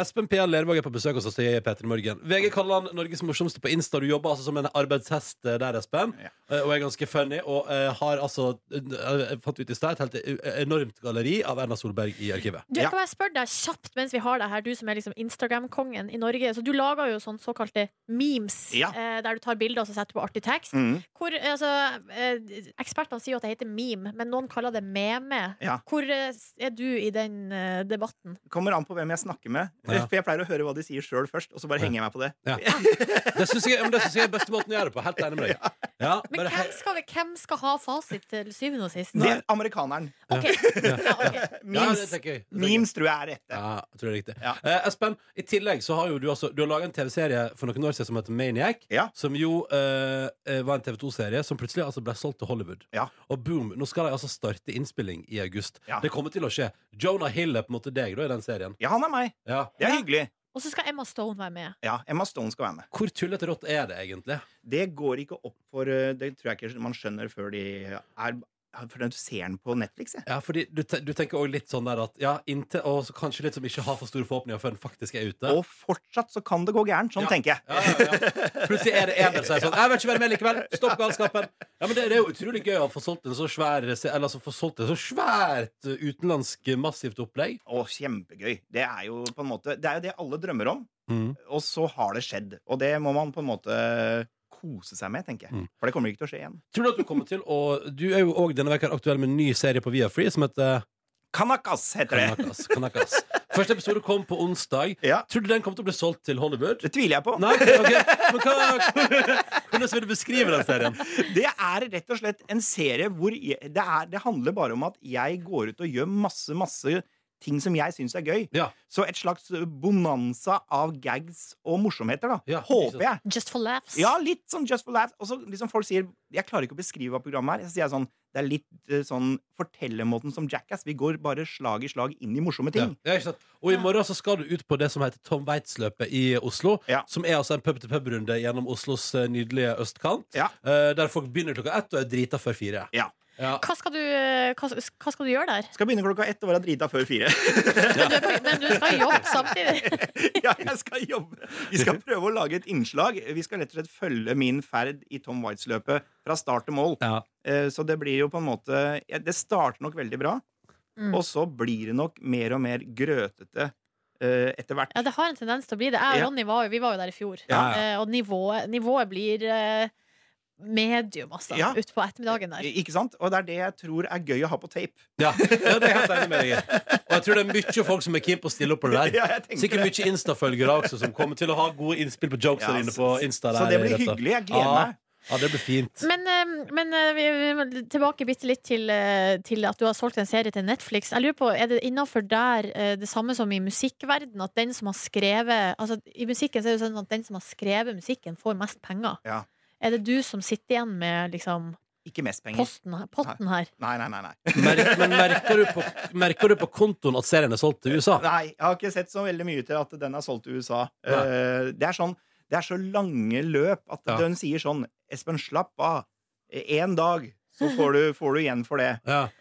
Speaker 2: Espen P. Lervåg er på besøk hos oss i P3 Morgen. VG kaller han Norges morsomste på Insta. Du jobber altså som en arbeidshest der, Espen, eh, og er ganske funny. Og eh, har altså, eh, jeg fant ut i stad, et helt eh, enormt galleri av Erna Solberg i arkivet.
Speaker 4: Du, kan jeg spørre deg kjapt mens vi har deg her, du som er liksom Instagram-kongen i Norge. Så Du lager jo sånn såkalte memes,
Speaker 2: Ja.
Speaker 4: eh, der du tar bilder og så setter du på artig tekst.
Speaker 2: Mm.
Speaker 8: Mhm.
Speaker 4: Hvor, eh, altså, eh, ekspertene sier jo at det heter meme, men noen kaller det meme.
Speaker 8: Ja.
Speaker 4: Hvor eh, er du i den eh, debatten?
Speaker 8: Kommer an på hvem jeg snakker med.
Speaker 2: Ja.
Speaker 8: For jeg pleier å høre hva de sier sjøl først, og så bare henger jeg meg på det.
Speaker 2: Det syns jeg, men det synes jeg er beste måten å gjøre det på. Helt enig med deg. Ja,
Speaker 4: Men
Speaker 2: bare
Speaker 4: hvem skal, hvem skal ha fasit til syvende og sist?
Speaker 8: Det er amerikaneren. Memes, memes tror jeg er rett.
Speaker 2: Ja, jeg tror det er riktig. Eh, Espen, i tillegg så har jo du altså Du har laga en TV-serie for noen år siden som heter Maniac. Som jo eh, eh, var en TV2-serie som plutselig altså ble solgt til Hollywood. Og boom, nå skal de altså starte innspilling i august. Det kommer til å skje. Jonah Hill er på en måte deg da i den serien.
Speaker 8: Ja, han er meg. Det er hyggelig.
Speaker 4: Og så skal Emma Stone være med.
Speaker 8: Ja, Emma Stone skal være med.
Speaker 2: Hvor tullete rått er det egentlig?
Speaker 8: Det går ikke opp for eh, Det tror jeg ikke man skjønner før de er Før du ser den på Netflix. Jeg.
Speaker 2: Ja, fordi du, te du tenker også litt sånn der at Ja, inntil Og så kanskje litt som ikke har for store forhåpninger før den faktisk er ute.
Speaker 8: Og fortsatt så kan det gå gærent. Sånn tenker jeg.
Speaker 2: Plutselig er det en del som er sånn Jeg vil ikke være med likevel. Stopp galskapen. Ja, men det, det er jo utrolig gøy å få solgt en så svær Eller altså få solgt et så svært eh, utenlandsk eh, massivt opplegg.
Speaker 8: Å, kjempegøy. Det er jo på en måte Det er jo det alle drømmer om.
Speaker 2: Mhm.
Speaker 8: Og så har det skjedd. Og det må man på en måte kose seg med, tenker jeg. For det kommer ikke til å skje igjen.
Speaker 2: Tror du at du kommer til å Du er jo òg denne veka aktuell med en ny serie på Viafree som heter
Speaker 8: Kanakas heter det.
Speaker 2: Kanakas, Kanakas. Første episode kom på onsdag. Tror du den kommer til å bli solgt til Hollywood?
Speaker 8: Det tviler jeg på.
Speaker 2: Nei, ok. Men hva, hvordan vil du beskrive den serien?
Speaker 8: Det er rett og slett en serie hvor jeg, det, er, det handler bare om at jeg går ut og gjør masse, masse ting som jeg syns er gøy. Så et slags bonanza av gags og morsomheter, da. håper jeg.
Speaker 4: Just for laughs.
Speaker 8: Ja, litt sånn Just for laughs. Og så liksom folk sier Jeg klarer ikke å beskrive hva programmet er. Så sier jeg sånn Det er litt eh, sånn fortellermåten som Jackass. Vi går bare slag i slag inn i morsomme ting.
Speaker 2: Ja, ikke sant? Og i morgen så skal du ut på det som heter Tom Waits-løpet i Oslo. Som er altså en pub-til-pub-runde gjennom Oslos eh, nydelige østkant. eh, Der folk begynner klokka ett og er drita før fire. Ja.
Speaker 4: Hva skal, du, eh, hva, hva skal du gjøre der?
Speaker 8: Skal begynne klokka ett og være drita før fire.
Speaker 4: Men du skal jobbe samtidig.
Speaker 8: ja, jeg skal jobbe. Vi skal prøve å lage et innslag. Vi skal rett og slett følge min ferd i Tom Waits-løpet fra start til mål. Eh, Så det blir jo på en måte ja, Det starter nok veldig bra,
Speaker 4: Mm.
Speaker 8: og så blir det nok mer og mer grøtete eh, etter hvert.
Speaker 4: Ja, det har en tendens til å bli det. Jeg
Speaker 8: Ja.
Speaker 4: og Ronny var jo, vi var jo der i fjor.
Speaker 8: Ja, ja.
Speaker 4: Eh, Og nivået, nivået blir eh, medium, altså.
Speaker 8: Ja.
Speaker 4: Utpå ettermiddagen der.
Speaker 8: Ikke sant? Og det er det jeg tror er gøy å ha på tape.
Speaker 2: Ja, ja, det er jeg helt enig med deg i. Og jeg tror det er mye folk som er keen på å stille opp på det der.
Speaker 8: Ja, jeg tenker
Speaker 2: Sikkert
Speaker 8: det.
Speaker 2: mye Insta-følgere også, som kommer til å ha gode innspill på jokes
Speaker 8: Ja,
Speaker 2: der inne
Speaker 8: så-
Speaker 2: på Insta.
Speaker 8: så
Speaker 2: der i
Speaker 8: det blir
Speaker 2: dette.
Speaker 8: hyggelig. Jeg gleder
Speaker 2: Ja.
Speaker 8: meg.
Speaker 2: Ja, det blir fint.
Speaker 4: Men, eh, men eh, vi, vi må tilbake bitte litt til, eh, til at du har solgt en serie til Netflix. Jeg lurer på, Er det innafor der eh, det samme som i musikkverden at den som har skrevet Altså, I musikken så er det jo sånn at den som har skrevet musikken, får mest penger.
Speaker 8: Ja.
Speaker 4: Er det du som sitter igjen med liksom
Speaker 8: Ikke mest penger.
Speaker 4: posten, her- potten her?
Speaker 8: Nei, nei, nei. nei.
Speaker 2: Merk, men merker du, på, merker du på kontoen at serien er solgt til USA?
Speaker 8: Nei, jeg har ikke sett så veldig mye til at den er solgt til USA.
Speaker 2: Nei.
Speaker 8: Eh, det er sånn Det er så lange løp at
Speaker 2: Ja.
Speaker 8: den sier sånn Espen, slapp av. Én dag, så får du, får du igjen for det.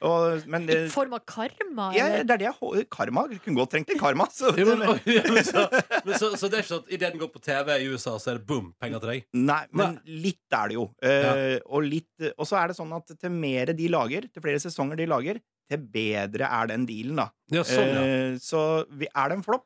Speaker 8: Og, men
Speaker 4: I
Speaker 8: det,
Speaker 4: form av karma?
Speaker 8: ja,
Speaker 4: eller?
Speaker 8: det er det jeg hå- Karma. Kunne godt trengt litt karma. Så,
Speaker 2: Jo, men, ja, men så, men så, så det er ikke sånn at idet den går på TV i USA, så er det boom, penger til deg?
Speaker 8: Nei, men litt er det jo. Eh, og, litt, og så er det sånn at til mer de lager, til flere sesonger de lager, til bedre er den dealen, da.
Speaker 2: Ja, sånn, ja.
Speaker 8: Eh, så vi, er det en flopp,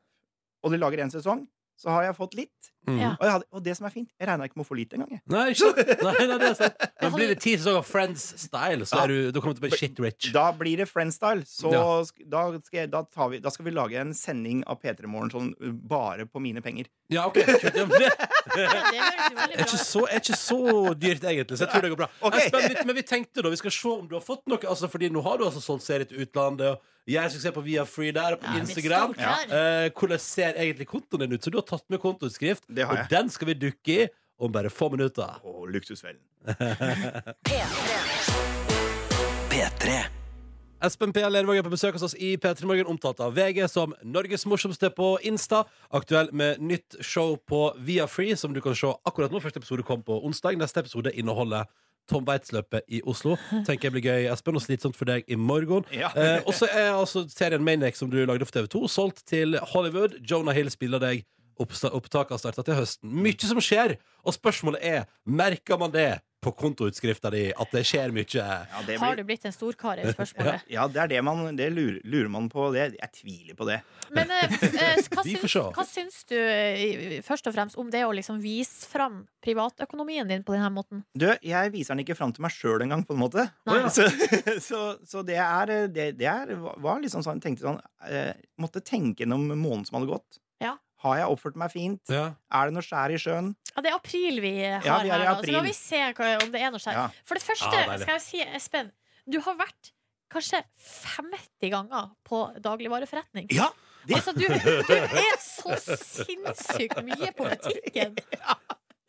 Speaker 8: og de lager én sesong, så har jeg fått litt.
Speaker 2: Mm. Ja.
Speaker 8: Og, jeg hadde, og det som er fint, jeg regna ikke med å få lite engang. jeg.
Speaker 2: Nei, ikke sant? Nei, nei, det er sant. Men blir det ti sesonger Friends-style, så
Speaker 8: Ja.
Speaker 2: er du, da kommer du til å bli shit rich.
Speaker 8: Da blir det Friends-style. Så
Speaker 2: Ja.
Speaker 8: sk- da, skal jeg, da, tar vi, da skal vi lage en sending av P3 Morgen sånn uh, bare på mine penger.
Speaker 2: Ja, ok. Kjøtt, ja, men det er ikke, så, er ikke så dyrt, egentlig, så jeg tror det går bra.
Speaker 8: Ok.
Speaker 2: Espen, vi- men vi tenkte da, vi skal se om du har fått noe. Altså, fordi nå har du altså solgt serie til utlandet. Og jeg skal se på Via Free der og på
Speaker 8: Ja, litt
Speaker 2: Instagram.
Speaker 8: stolt her.
Speaker 2: Eh, hvordan ser egentlig kontoen din ut? Så du har tatt med kontoutskrift,
Speaker 8: Det har
Speaker 2: og
Speaker 8: jeg.
Speaker 2: den skal vi dukke i om bare få minutter.
Speaker 8: Og luksusfellen.
Speaker 2: P3 Espen P. Lervåg er på besøk hos oss i P3 Morgen, omtalt av VG som Norges morsomste på Insta. Aktuell med nytt show på Viafree, som du kan se akkurat nå. Første episode kom på onsdag. Neste episode inneholder Tom Waits-løpet i Oslo. Tenker jeg blir gøy, Espen, og slitsomt for deg i morgen.
Speaker 8: Ja.
Speaker 2: Eh, og så er altså serien Maniac, som du lagde for TV2, solgt til Hollywood. Jonah Hill spiller deg. Oppsta- Opptaket har starta til høsten. Mye som skjer! Og spørsmålet er, merker man det på kontoutskrifta di, at det skjer mye?
Speaker 8: det
Speaker 4: Har du blitt en storkar? er jo Spørsmålet.
Speaker 8: Ja, det er det man Det lurer, lurer man på. Det, jeg tviler på det.
Speaker 4: Men eh, eh, hva,
Speaker 8: Vi
Speaker 4: syns,
Speaker 8: får se.
Speaker 4: hva syns du eh, først og fremst om det å liksom vise fram privatøkonomien din på denne måten?
Speaker 8: Du, jeg viser den ikke fram til meg sjøl engang, på en måte.
Speaker 4: Nei.
Speaker 8: Så, så, så det er Det, det er, var liksom sånn tenkte sånn eh, Måtte tenke gjennom måneden som hadde gått. Har jeg oppført meg fint? Er det noe skjær i sjøen?
Speaker 4: Ja, det er april vi har
Speaker 8: Ja, vi er i
Speaker 4: her, da.
Speaker 8: april.
Speaker 4: så må vi se hva- om det er noe skjær.
Speaker 8: Ja.
Speaker 4: For det første
Speaker 8: Ja, deilig.
Speaker 4: skal jeg si, Espen, du har vært kanskje 50 ganger på dagligvareforretning.
Speaker 8: Ja, det-
Speaker 4: Altså, du, du er så sinnssykt mye på butikken.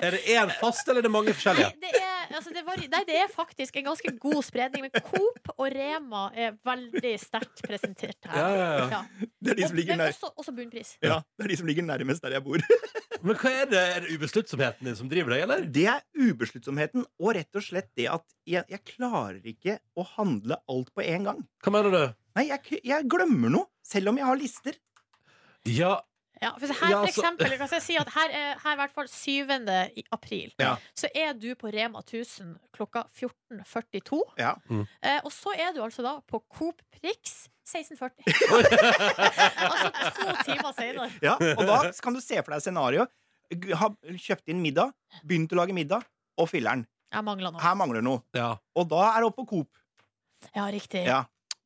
Speaker 2: Er det én fast, eller er det mange forskjellige?
Speaker 4: Det er, altså, det, var, nei, det er faktisk en ganske god spredning, men Coop og Rema er veldig sterkt presentert her.
Speaker 8: Ja, ja, ja. Det er de
Speaker 4: Og-
Speaker 8: som ligger
Speaker 4: men
Speaker 8: nær.
Speaker 4: Også, også bunnpris.
Speaker 8: Ja, det er de som ligger nærmest der jeg bor.
Speaker 2: Men hva er det? Er det ubesluttsomheten din som driver deg, eller?
Speaker 8: Det er ubesluttsomheten, og rett og slett det at jeg, jeg klarer ikke å handle alt på en gang.
Speaker 2: Hva mener du?
Speaker 8: Nei, jeg, k- jeg glemmer noe, selv om jeg har lister.
Speaker 2: Ja,
Speaker 4: Ja, for her,
Speaker 8: Ja,
Speaker 4: for
Speaker 8: altså-
Speaker 4: eksempel, kan jeg si at her, er- her i hvert fall 7. i april,
Speaker 8: Ja.
Speaker 4: så er du på Rema 1000 klokka 14.42.
Speaker 8: Ja.
Speaker 2: Mm.
Speaker 4: Eh, og så er du altså da på Coop Prix 16.40. altså to timer senere.
Speaker 8: Ja, og da kan du se for deg scenario. G- Ha kjøpt inn middag, begynt å lage middag, og filler'n.
Speaker 4: Jeg mangler noe.
Speaker 8: Her mangler noe.
Speaker 2: Ja.
Speaker 8: Og da er det oppe på Coop.
Speaker 4: Ja, riktig.
Speaker 8: Ja.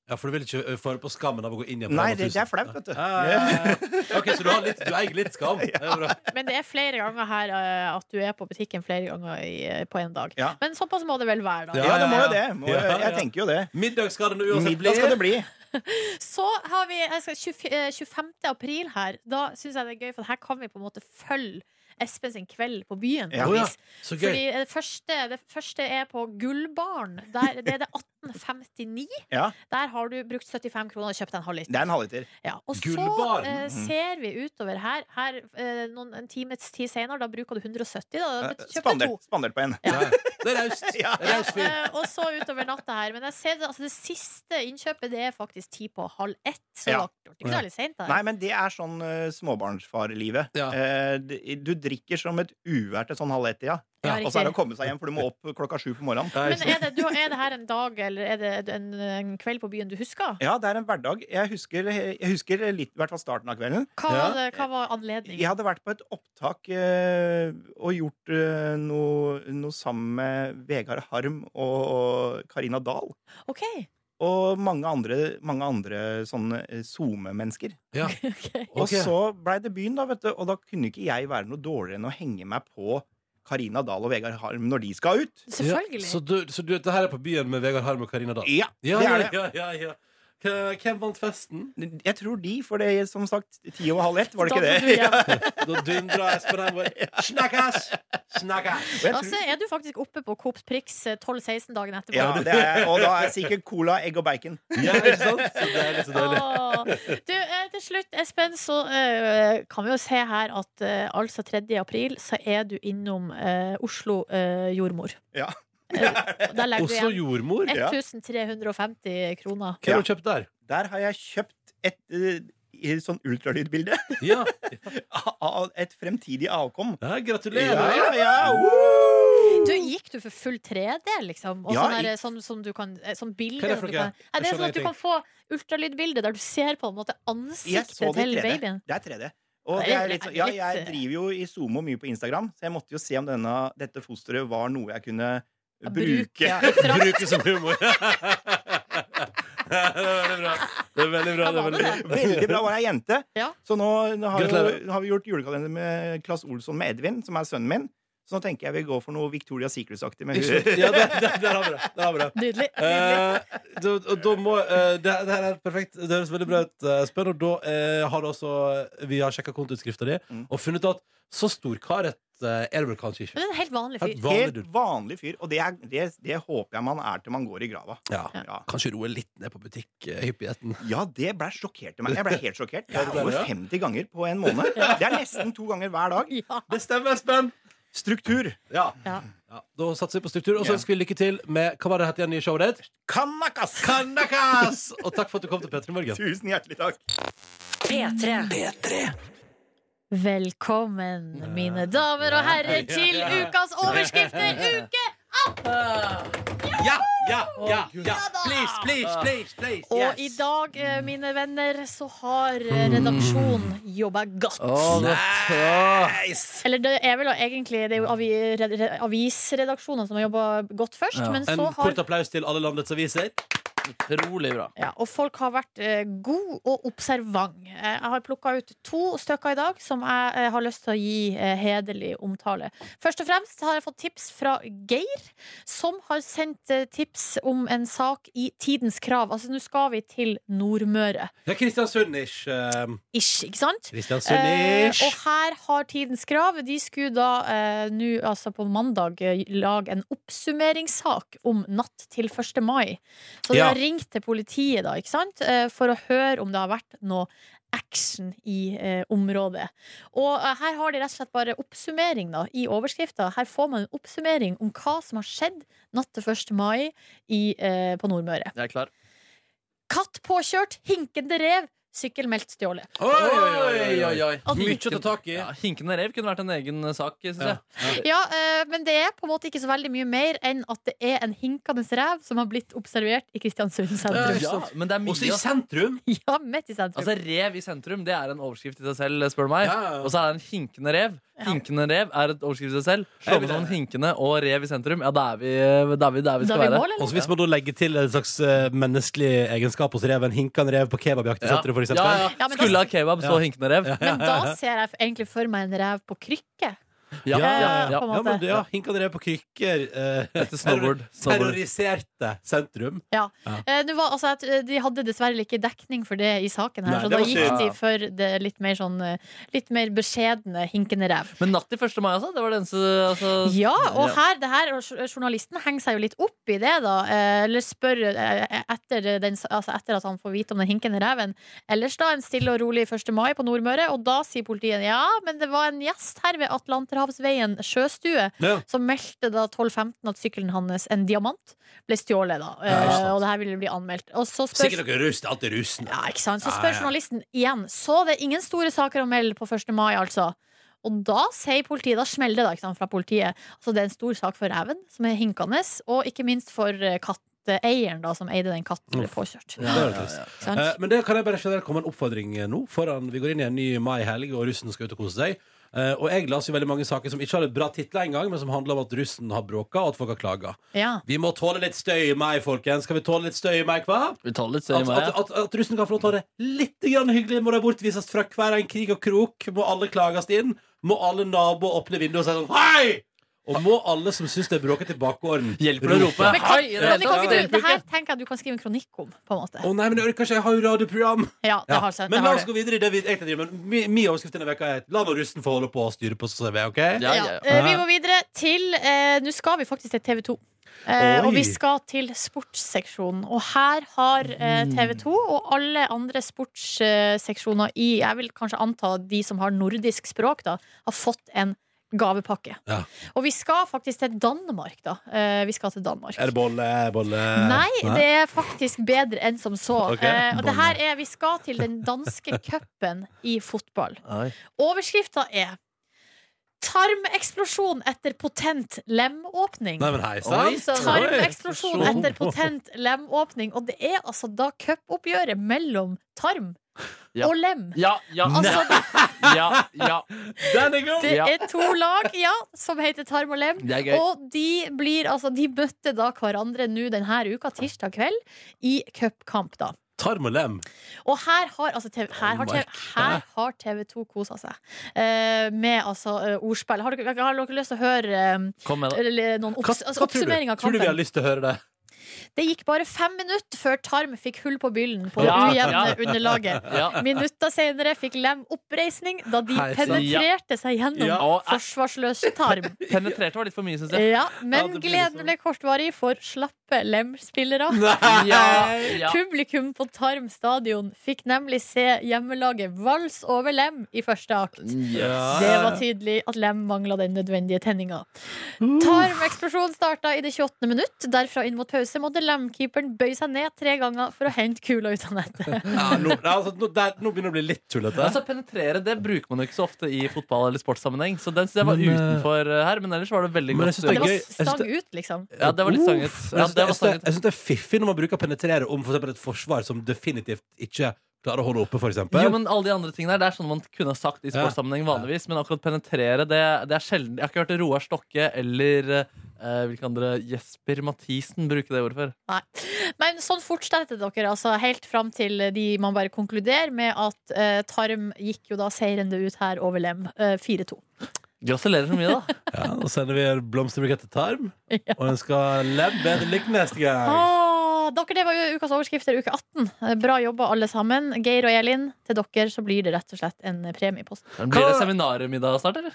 Speaker 2: Ja, for du vil ikke ø, fare på skammen av å gå inn igjen? på
Speaker 8: Nei,
Speaker 2: Rema
Speaker 8: det, det
Speaker 2: 1000.
Speaker 8: er flaut, vet du.
Speaker 2: Ja, ja, ja. Ok, Så du, har litt, du eier litt skam? Det er bra.
Speaker 4: Men det er flere ganger her eh, at du er på butikken flere ganger i, eh, på en dag.
Speaker 2: Ja.
Speaker 4: Men såpass må det vel være, da.
Speaker 8: Ja, det må jo det. Må, jo- jeg tenker jo det.
Speaker 2: Middag skal det nå uansett bli.
Speaker 8: Middag skal det bli.
Speaker 4: Så har vi jeg skal, 20, eh, 25. april her. Da syns jeg det er gøy, for her kan vi på en måte følge Espen sin kveld på byen. på
Speaker 2: Ja.
Speaker 4: et
Speaker 2: Å ja,
Speaker 4: vis.
Speaker 2: så gøy.
Speaker 4: Fordi eh, det første, det første er på Gullbaren. Der, det er det 1859.
Speaker 8: Ja.
Speaker 4: Der har du brukt 75 kroner og kjøpt deg en halvliter.
Speaker 8: Det er en halvliter.
Speaker 4: Ja, og så eh,
Speaker 2: Mm.
Speaker 4: ser vi utover her, her eh, noen, en times tid senere, da bruker du 170. Da, da kjøper du to.
Speaker 8: Eh, Spandert, spandert på en.
Speaker 2: Det er raust. Det er raust fyr.
Speaker 4: Eh, og så utover natta her. Men jeg ser det, altså, det siste innkjøpet Det er faktisk ti på halv ett. Så
Speaker 8: Ja.
Speaker 4: det var ikke særlig seint.
Speaker 8: Nei, men det er sånn uh, småbarnsfarlivet. Eh, d- du drikker som et uvær til sånn halv ett, ja.
Speaker 4: Ja,
Speaker 8: Og så er det
Speaker 4: riktig.
Speaker 8: å komme seg hjem, for du må opp klokka sju på morgenen.
Speaker 4: Men er det, du, er det her en dag eller er det en, en kveld på byen du husker?
Speaker 8: Ja, det er en hverdag. Jeg husker, jeg husker litt, i hvert fall starten av kvelden.
Speaker 4: Hva, var det- hva var anledningen?
Speaker 8: Jeg hadde vært på et opptak eh, og gjort eh, noe, noe sammen med Vegard Harm og, og Karina Dahl.
Speaker 4: Ok.
Speaker 8: Og mange andre, mange andre sånne eh, SoMe-mennesker. Og
Speaker 2: Ok.
Speaker 8: så blei det byen, da, vet du. Og da kunne ikke jeg være noe dårligere enn å henge meg på Karina Dahl og Vegard Harm når de skal ut.
Speaker 2: Ja, så du, så du, dette her er på byen med Vegard Harm og Karina Dahl?
Speaker 8: Ja,
Speaker 2: ja,
Speaker 8: det
Speaker 2: ja,
Speaker 8: er det.
Speaker 2: ja, ja, ja. K- Hvem vant festen?
Speaker 8: Jeg tror de, for det er som sagt ti og halv ett, var det
Speaker 2: Da
Speaker 8: ikke
Speaker 2: dro
Speaker 8: det?
Speaker 2: du Da dundra Espen her vår. Snakkes! Snakkes!
Speaker 4: Og så er du faktisk oppe på Coops Prix eh, 12-16 dagen etterpå.
Speaker 8: Ja, det er, og da er sikkert cola, egg og bacon.
Speaker 2: Ja, ikke sant? Så deilig,
Speaker 4: liksom-
Speaker 2: så deilig.
Speaker 4: Åh. Du, eh, til slutt, Espen, så eh, kan vi jo se her at eh, altså 3. april så er du innom eh, Oslo eh, jordmor.
Speaker 8: Ja.
Speaker 4: Eh, der legger du
Speaker 2: Oslo
Speaker 4: igjen
Speaker 2: jordmor? Ja.
Speaker 4: 1350 kroner.
Speaker 2: Hva har du kjøpt der?
Speaker 8: Der har jeg kjøpt et eh, i et sånn ultralydbilde
Speaker 2: ja.
Speaker 8: av et fremtidig avkom.
Speaker 2: gratulerer!
Speaker 8: Ja, ja, ja.
Speaker 4: Du, gikk du for full 3D, liksom? Og
Speaker 8: Ja,
Speaker 4: sånn, der,
Speaker 8: jeg-
Speaker 4: sånn, som du kan, eh, sånn bilde
Speaker 8: Hva er det for
Speaker 4: du
Speaker 8: noe?
Speaker 4: kan, Nei, Det
Speaker 8: Jeg
Speaker 4: er sånn
Speaker 8: skjønner
Speaker 4: at du kan få ultralydbilde der du ser på en måte
Speaker 8: Jeg så
Speaker 4: ansiktet
Speaker 8: det i
Speaker 4: til
Speaker 8: 3D.
Speaker 4: babyen.
Speaker 8: Det er 3D. Og
Speaker 4: Det
Speaker 8: det
Speaker 4: er
Speaker 8: er litt, sånn- ja,
Speaker 4: litt- eh,
Speaker 8: jeg driver jo i SoMe mye på Instagram, så jeg måtte jo se om denne, dette fosteret var noe jeg kunne
Speaker 2: Bruk,
Speaker 8: bruke.
Speaker 2: ja. Bruke som humor. det er veldig bra. Det er veldig bra. Det er veldig bra.
Speaker 8: Veldig bra, var ei jente. Så nå, nå, har jo,
Speaker 2: Gratulerer.
Speaker 8: nå har vi gjort julekalender med Klass Olsson med Edvin, som er sønnen min. Så nå tenker jeg vi går for noe Victoria Secrets-aktig. med
Speaker 2: Ikke sant?
Speaker 8: hun.
Speaker 2: Ja, der, der, der har vi det. Der har vi det.
Speaker 4: Nydelig.
Speaker 2: Eh, da, og da må, eh, det, det her er perfekt. Det høres veldig bra ut, eh, Espen. Og da eh, har du også Vi har sjekka kontoutskrifta di og funnet ut at så stor karhet eh, er det vel kanskje ikke.
Speaker 4: Men det er en helt vanlig fyr.
Speaker 2: Helt vanlig
Speaker 8: Helt vanlig fyr. Og det, er, det, det håper jeg man er til man går i grava.
Speaker 2: Ja. Kanskje roe litt ned på butikkhyppigheten.
Speaker 8: Ja, det ble sjokkert i meg. Jeg ble helt sjokkert. Jeg
Speaker 2: Ja, det ble
Speaker 8: går
Speaker 2: det.
Speaker 8: 50 ganger på en måned. Det er nesten to ganger hver dag.
Speaker 2: Det stemmer, Espen.
Speaker 8: Struktur.
Speaker 2: Ja.
Speaker 4: Ja.
Speaker 2: Da satser vi på struktur, og så
Speaker 8: Ja.
Speaker 2: ønsker vi lykke til med Hva var det het igjen i showet ditt?
Speaker 8: Kanakas!
Speaker 2: Kanakas! Og takk for at du kom til Petter i morgen.
Speaker 8: Tusen hjertelig takk.
Speaker 4: P3. Velkommen, mine damer og herrer, til ukas overskrifter, uke 18!
Speaker 2: Ja, ja, ja, ja. Please, please, please, please.
Speaker 4: Og i dag, eh, mine venner, så har
Speaker 2: Mm.
Speaker 4: eh, redaksjonen jobba godt.
Speaker 3: Åh, godt. Åh.
Speaker 4: Eller det er vel egentlig Det er jo avi, red- red- avisredaksjonene som har jobba godt først, men så
Speaker 2: En
Speaker 4: har
Speaker 2: kort applaus til alle landets aviser.
Speaker 13: Utrolig bra.
Speaker 4: Ja, og folk har vært eh, gode og observant. Eh, jeg har plukka ut to stykker i dag som jeg eh, har lyst til å gi eh, hederlig omtale. Først og fremst har jeg fått tips fra Geir, som har sendt eh, tips om en sak i Tidens Krav. Altså, nå skal vi til Nordmøre.
Speaker 2: Det er Kristiansund-ish. ehm.
Speaker 4: Ish, ikke sant? Eh,
Speaker 2: Kristiansund-ish.
Speaker 4: og her har Tidens Krav De skulle da eh, nå, altså på mandag, eh, lage en oppsummeringssak om natt til 1. mai. Så de
Speaker 14: Ja.
Speaker 4: har ringt til politiet, da, ikke sant? Eh, for å høre om det har vært noe action i eh, området. Og eh, her har de rett og slett bare oppsummering da, i overskrifta. Her får man en oppsummering om hva som har skjedd natt til 1. mai i, eh, på Nordmøre.
Speaker 3: Jeg er klar.
Speaker 4: Katt påkjørt, hinkende rev, sykkel meldt stjålet.
Speaker 3: Oi, oi, oi.
Speaker 4: At-
Speaker 3: tak i. Ja, Hinkende rev kunne vært en egen eh, sak, syns jeg.
Speaker 4: Ja, eh, men det er på en måte ikke så veldig mye mer enn at det er en hinkende rev som har blitt observert i Kristiansund
Speaker 2: Eh,
Speaker 4: sentrum.
Speaker 3: Ja, men det er mye.
Speaker 4: Også i
Speaker 3: sentrum.
Speaker 4: Ja, midt i sentrum.
Speaker 3: Altså Rev i sentrum det er en overskrift i seg selv, spør du meg.
Speaker 4: Ja, ja, ja.
Speaker 3: Og så er det en hinkende rev. Hinkende rev er et overskrift i seg selv. Slå på sånn hinkende og rev i sentrum. Ja, da er vi da er vi, da er vi skal være.
Speaker 2: Og så hvis man da legger til en slags eh, menneskelig egenskap hos reven, hinkende rev på kebabjakt i
Speaker 3: Ja.
Speaker 2: sentrum, for eksempel.
Speaker 3: Ja, ja. Ja, men da- Skulle ha kebab, så hinkende rev.
Speaker 4: Men da ser jeg egentlig for meg en rev på krykke.
Speaker 2: Ja, ja, ja.
Speaker 4: Eh, på en
Speaker 2: ja,
Speaker 4: måte.
Speaker 2: men det, ja hinkende rev på krykker. eh,
Speaker 3: Etter snowboard. Snowboard.
Speaker 2: Terroriserte sentrum.
Speaker 4: Ja.
Speaker 2: Ja.
Speaker 4: Eh, nå var, altså, at, eh, de hadde dessverre ikke dekning for det i saken her,
Speaker 3: Nei,
Speaker 4: så
Speaker 3: det
Speaker 4: da
Speaker 3: var
Speaker 4: gikk
Speaker 3: synd.
Speaker 4: de for det litt mer sånn eh, Litt mer beskjedne hinkende rev.
Speaker 3: Men natt til 1. mai, altså? Det var den som altså,
Speaker 4: Ja, og her, det her, og jour- journalisten henger seg jo litt opp i det, da. eh, Eller spør eh, etter, den, altså etter at han får vite om den hinkende reven. Ellers da en stille og rolig 1. mai på Nordmøre, og da sier politiet ja, men det var en gjest her ved Atlanterhavsveien sjøstue
Speaker 14: Ja.
Speaker 4: som meldte da 12.15 at sykkelen hans, en diamant, ble stjålet, da.
Speaker 2: Ja, ikke
Speaker 4: Eh,
Speaker 2: sant.
Speaker 4: og det her ville bli anmeldt. Og så spør
Speaker 2: Sikkert noe rust. Alltid rusen.
Speaker 4: ja, ikke sant? Så
Speaker 2: Ja,
Speaker 4: spør
Speaker 2: ja, ja.
Speaker 4: journalisten igjen. Så det er ingen store saker å melde på 1. mai, altså. Og da sier politiet, da smeller det da, ikke sant, fra politiet. Altså, det er en stor sak for reven, som er hinkende, og ikke minst for eh, katteeieren, da, som eide den katten som ble påkjørt.
Speaker 2: Ja, det er litt trist.
Speaker 4: Sant?
Speaker 2: Eh, Men det kan jeg bare generelt komme med en oppfordring eh, nå. Foran, vi går inn i en ny mai-helg, og russen skal ut og kose seg. Eh, og jeg las jo veldig mange saker som ikke hadde bra titler engang, men som handler om at russen har bråka, og at folk har klaga.
Speaker 4: Ja.
Speaker 2: Vi må tåle litt støy i mai, folkens. Skal vi tåle litt støy i mai, hva?
Speaker 3: Vi tåler litt støy i
Speaker 2: at,
Speaker 3: mai,
Speaker 2: at, at, at russen kan få lov til å ha det litt grann hyggelig, må de bortvises fra hver en krig og krok. Må alle klages inn. Må alle naboer åpne vinduet og si sånn Hei! Og må alle som syns det er bråkete bakgården,
Speaker 3: Hjelper det å rope?
Speaker 4: Men kan, Ronny, kan ikke du, det her tenker jeg du kan skrive en kronikk om, på en måte.
Speaker 2: Å nei, men jeg orker ikke, jeg har jo radioprogram
Speaker 4: Ja, det har seg-
Speaker 2: Men
Speaker 4: det
Speaker 2: la
Speaker 4: har
Speaker 2: oss
Speaker 4: det.
Speaker 2: gå videre i det vi egentlig driver med Mi- Min overskrift denne veka er La nå russen få holde på og styre på seg ok?
Speaker 4: Ja. Eh, Vi går videre til eh, Nå skal vi faktisk til TV 2. Eh,
Speaker 2: Oi.
Speaker 4: og vi skal til sportsseksjonen. Og her har eh,
Speaker 2: Mm.
Speaker 4: TV 2 og alle andre sportsseksjoner i Jeg vil kanskje anta de som har nordisk språk, da, har fått en gavepakke.
Speaker 2: Ja.
Speaker 4: Og vi skal faktisk til Danmark, da. Eh, vi skal til Danmark.
Speaker 2: Er det bolle, bolle?
Speaker 4: Nei, det er faktisk bedre enn som så.
Speaker 2: Ok.
Speaker 4: Eh, og det her er, Vi skal til den danske cupen i fotball. Overskrifta er Tarmeksplosjon etter potent lemåpning.
Speaker 2: Nei, men hei, sant?
Speaker 4: Altså,
Speaker 2: Oi.
Speaker 4: Tarmeksplosjon etter potent lemåpning. Og det er altså da cupoppgjøret mellom tarm og lem.
Speaker 3: Ja, ja,
Speaker 4: Altså,
Speaker 3: ja, ja.
Speaker 2: Den er god!
Speaker 4: Det er to lag ja, som heter Tarm og Lem.
Speaker 3: Det er gøy.
Speaker 4: Og de, blir, altså, de møtte da hverandre nå denne uka, tirsdag kveld, i cupkamp. da.
Speaker 2: Tarm og lem
Speaker 4: Og her har, altså, TV, her har, TV, her har TV2 kosa seg eh, med altså, eh, ordspill. Har dere, har dere lyst til å høre eh,
Speaker 2: Kom med det.
Speaker 4: eller noen
Speaker 2: Hva-
Speaker 4: opps, altså,
Speaker 2: hva tror du?
Speaker 4: oppsummering av
Speaker 2: Tror du vi har
Speaker 4: kampen?
Speaker 2: lyst til å høre det?
Speaker 4: Det gikk bare fem minutter før Tarm fikk hull på byllen på det
Speaker 2: Ja,
Speaker 4: ujevne
Speaker 2: ja.
Speaker 4: underlaget.
Speaker 2: Ja.
Speaker 4: Minutter senere fikk Lem oppreisning da de
Speaker 3: Hei, sant.
Speaker 4: penetrerte seg gjennom
Speaker 3: Ja, og-
Speaker 4: forsvarsløs tarm.
Speaker 3: Penetrerte var litt for mye, syns jeg.
Speaker 4: Ja, men
Speaker 2: liksom-
Speaker 4: gleden ble kortvarig for slappe Lem-spillere.
Speaker 3: Nei! Ja, ja.
Speaker 4: Publikum på Tarm stadion fikk nemlig se hjemmelaget vals over Lem i første akt.
Speaker 2: Eh,
Speaker 14: Ja.
Speaker 4: Det var tydelig at Lem mangla den nødvendige tenninga. Tarmeksplosjonen starta i det 28. minutt. Derfra inn mot pause måtte Lem-keeperen bøye seg ned tre ganger for å hente kula ut av nettet.
Speaker 2: Ja, nå, altså, nå, der, nå begynner det å bli litt tullete
Speaker 3: Altså Penetrere det bruker man jo ikke så ofte i fotball- eller sportssammenheng. Så den synes jeg var
Speaker 2: Men, eh,
Speaker 3: utenfor eh, her, men ellers var det veldig
Speaker 2: Men
Speaker 3: godt.
Speaker 2: jeg synes det er
Speaker 4: Det var
Speaker 2: gøy. Jeg synes
Speaker 4: stang
Speaker 2: det-
Speaker 4: ut, liksom.
Speaker 3: Ja, det var litt stanget.
Speaker 2: Uff.
Speaker 3: Ja,
Speaker 2: jeg, synes det,
Speaker 3: det var
Speaker 2: jeg, synes det,
Speaker 3: stanget.
Speaker 2: jeg synes det er fiffig når man bruker penetrere om for eksempel et forsvar som definitivt ikke Klarer å holde oppe, for eksempel.
Speaker 3: Jo, men alle de andre tingene der, Det er sånn man kunne ha sagt i sportssammenheng vanligvis. Men akkurat penetrere, det, det er sjelden. Jeg har ikke hørt Roar Stokke eller eh, hvilke andre Jesper Mathisen bruke det ordet før.
Speaker 4: Nei. Men sånn fortsetter dere, altså helt fram til de man bare konkluderer med at eh, tarm gikk jo da seirende ut her over lem. eh, 4-2.
Speaker 3: Gratulerer så mye, da.
Speaker 2: Ja, Da sender vi en blomsterbukett til Tarm og ønsker Lem bedre lykke neste gang.
Speaker 4: Ah, dere, det var jo ukas overskrifter uke 18. Eh, Bra jobba, alle sammen. Geir og Elin, til dere så blir det rett og slett en premie i posten.
Speaker 3: Blir det seminarmiddag snart, eller?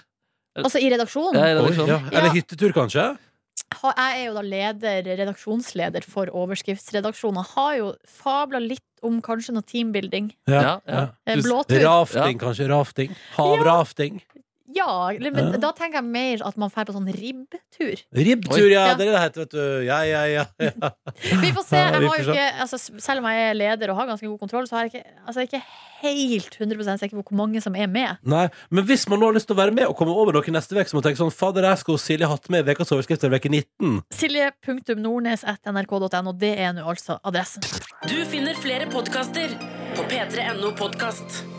Speaker 4: Altså i redaksjonen.
Speaker 3: Ja, i redaksjonen.
Speaker 2: Ja,
Speaker 4: Ja.
Speaker 2: eller hyttetur, kanskje?
Speaker 4: ha- jeg er jo da leder, redaksjonsleder for overskriftsredaksjonen. og Har jo fabla litt om kanskje noe teambuilding. Eh, blåtur.
Speaker 2: Rafting, kanskje. Rafting. Havrafting.
Speaker 4: Ja, eller- men
Speaker 2: Ja.
Speaker 4: da tenker jeg mer at man drar på sånn ribbtur.
Speaker 2: Ribbtur, ja.
Speaker 4: Ja.
Speaker 2: Det er det det heter, vet du. Ja, ja, ja. ja.
Speaker 4: Vi får se. Jeg
Speaker 2: Vi
Speaker 4: har
Speaker 2: får
Speaker 4: jo
Speaker 2: se.
Speaker 4: ikke, altså, s- selv om jeg er leder og har ganske god kontroll, så har jeg ikke, altså, jeg er ikke helt 100 sikker på hvor mange som er med.
Speaker 2: Nei, Men hvis man nå har lyst til å være med og komme over noe neste uke, så må man tenke sånn Fader, jeg skulle Silje hatt med i ukas overskrift i uke 19.
Speaker 4: Silje.nordnes.nrk.no, det er nå altså adressen.
Speaker 1: Du finner flere podkaster på p3.no podkast.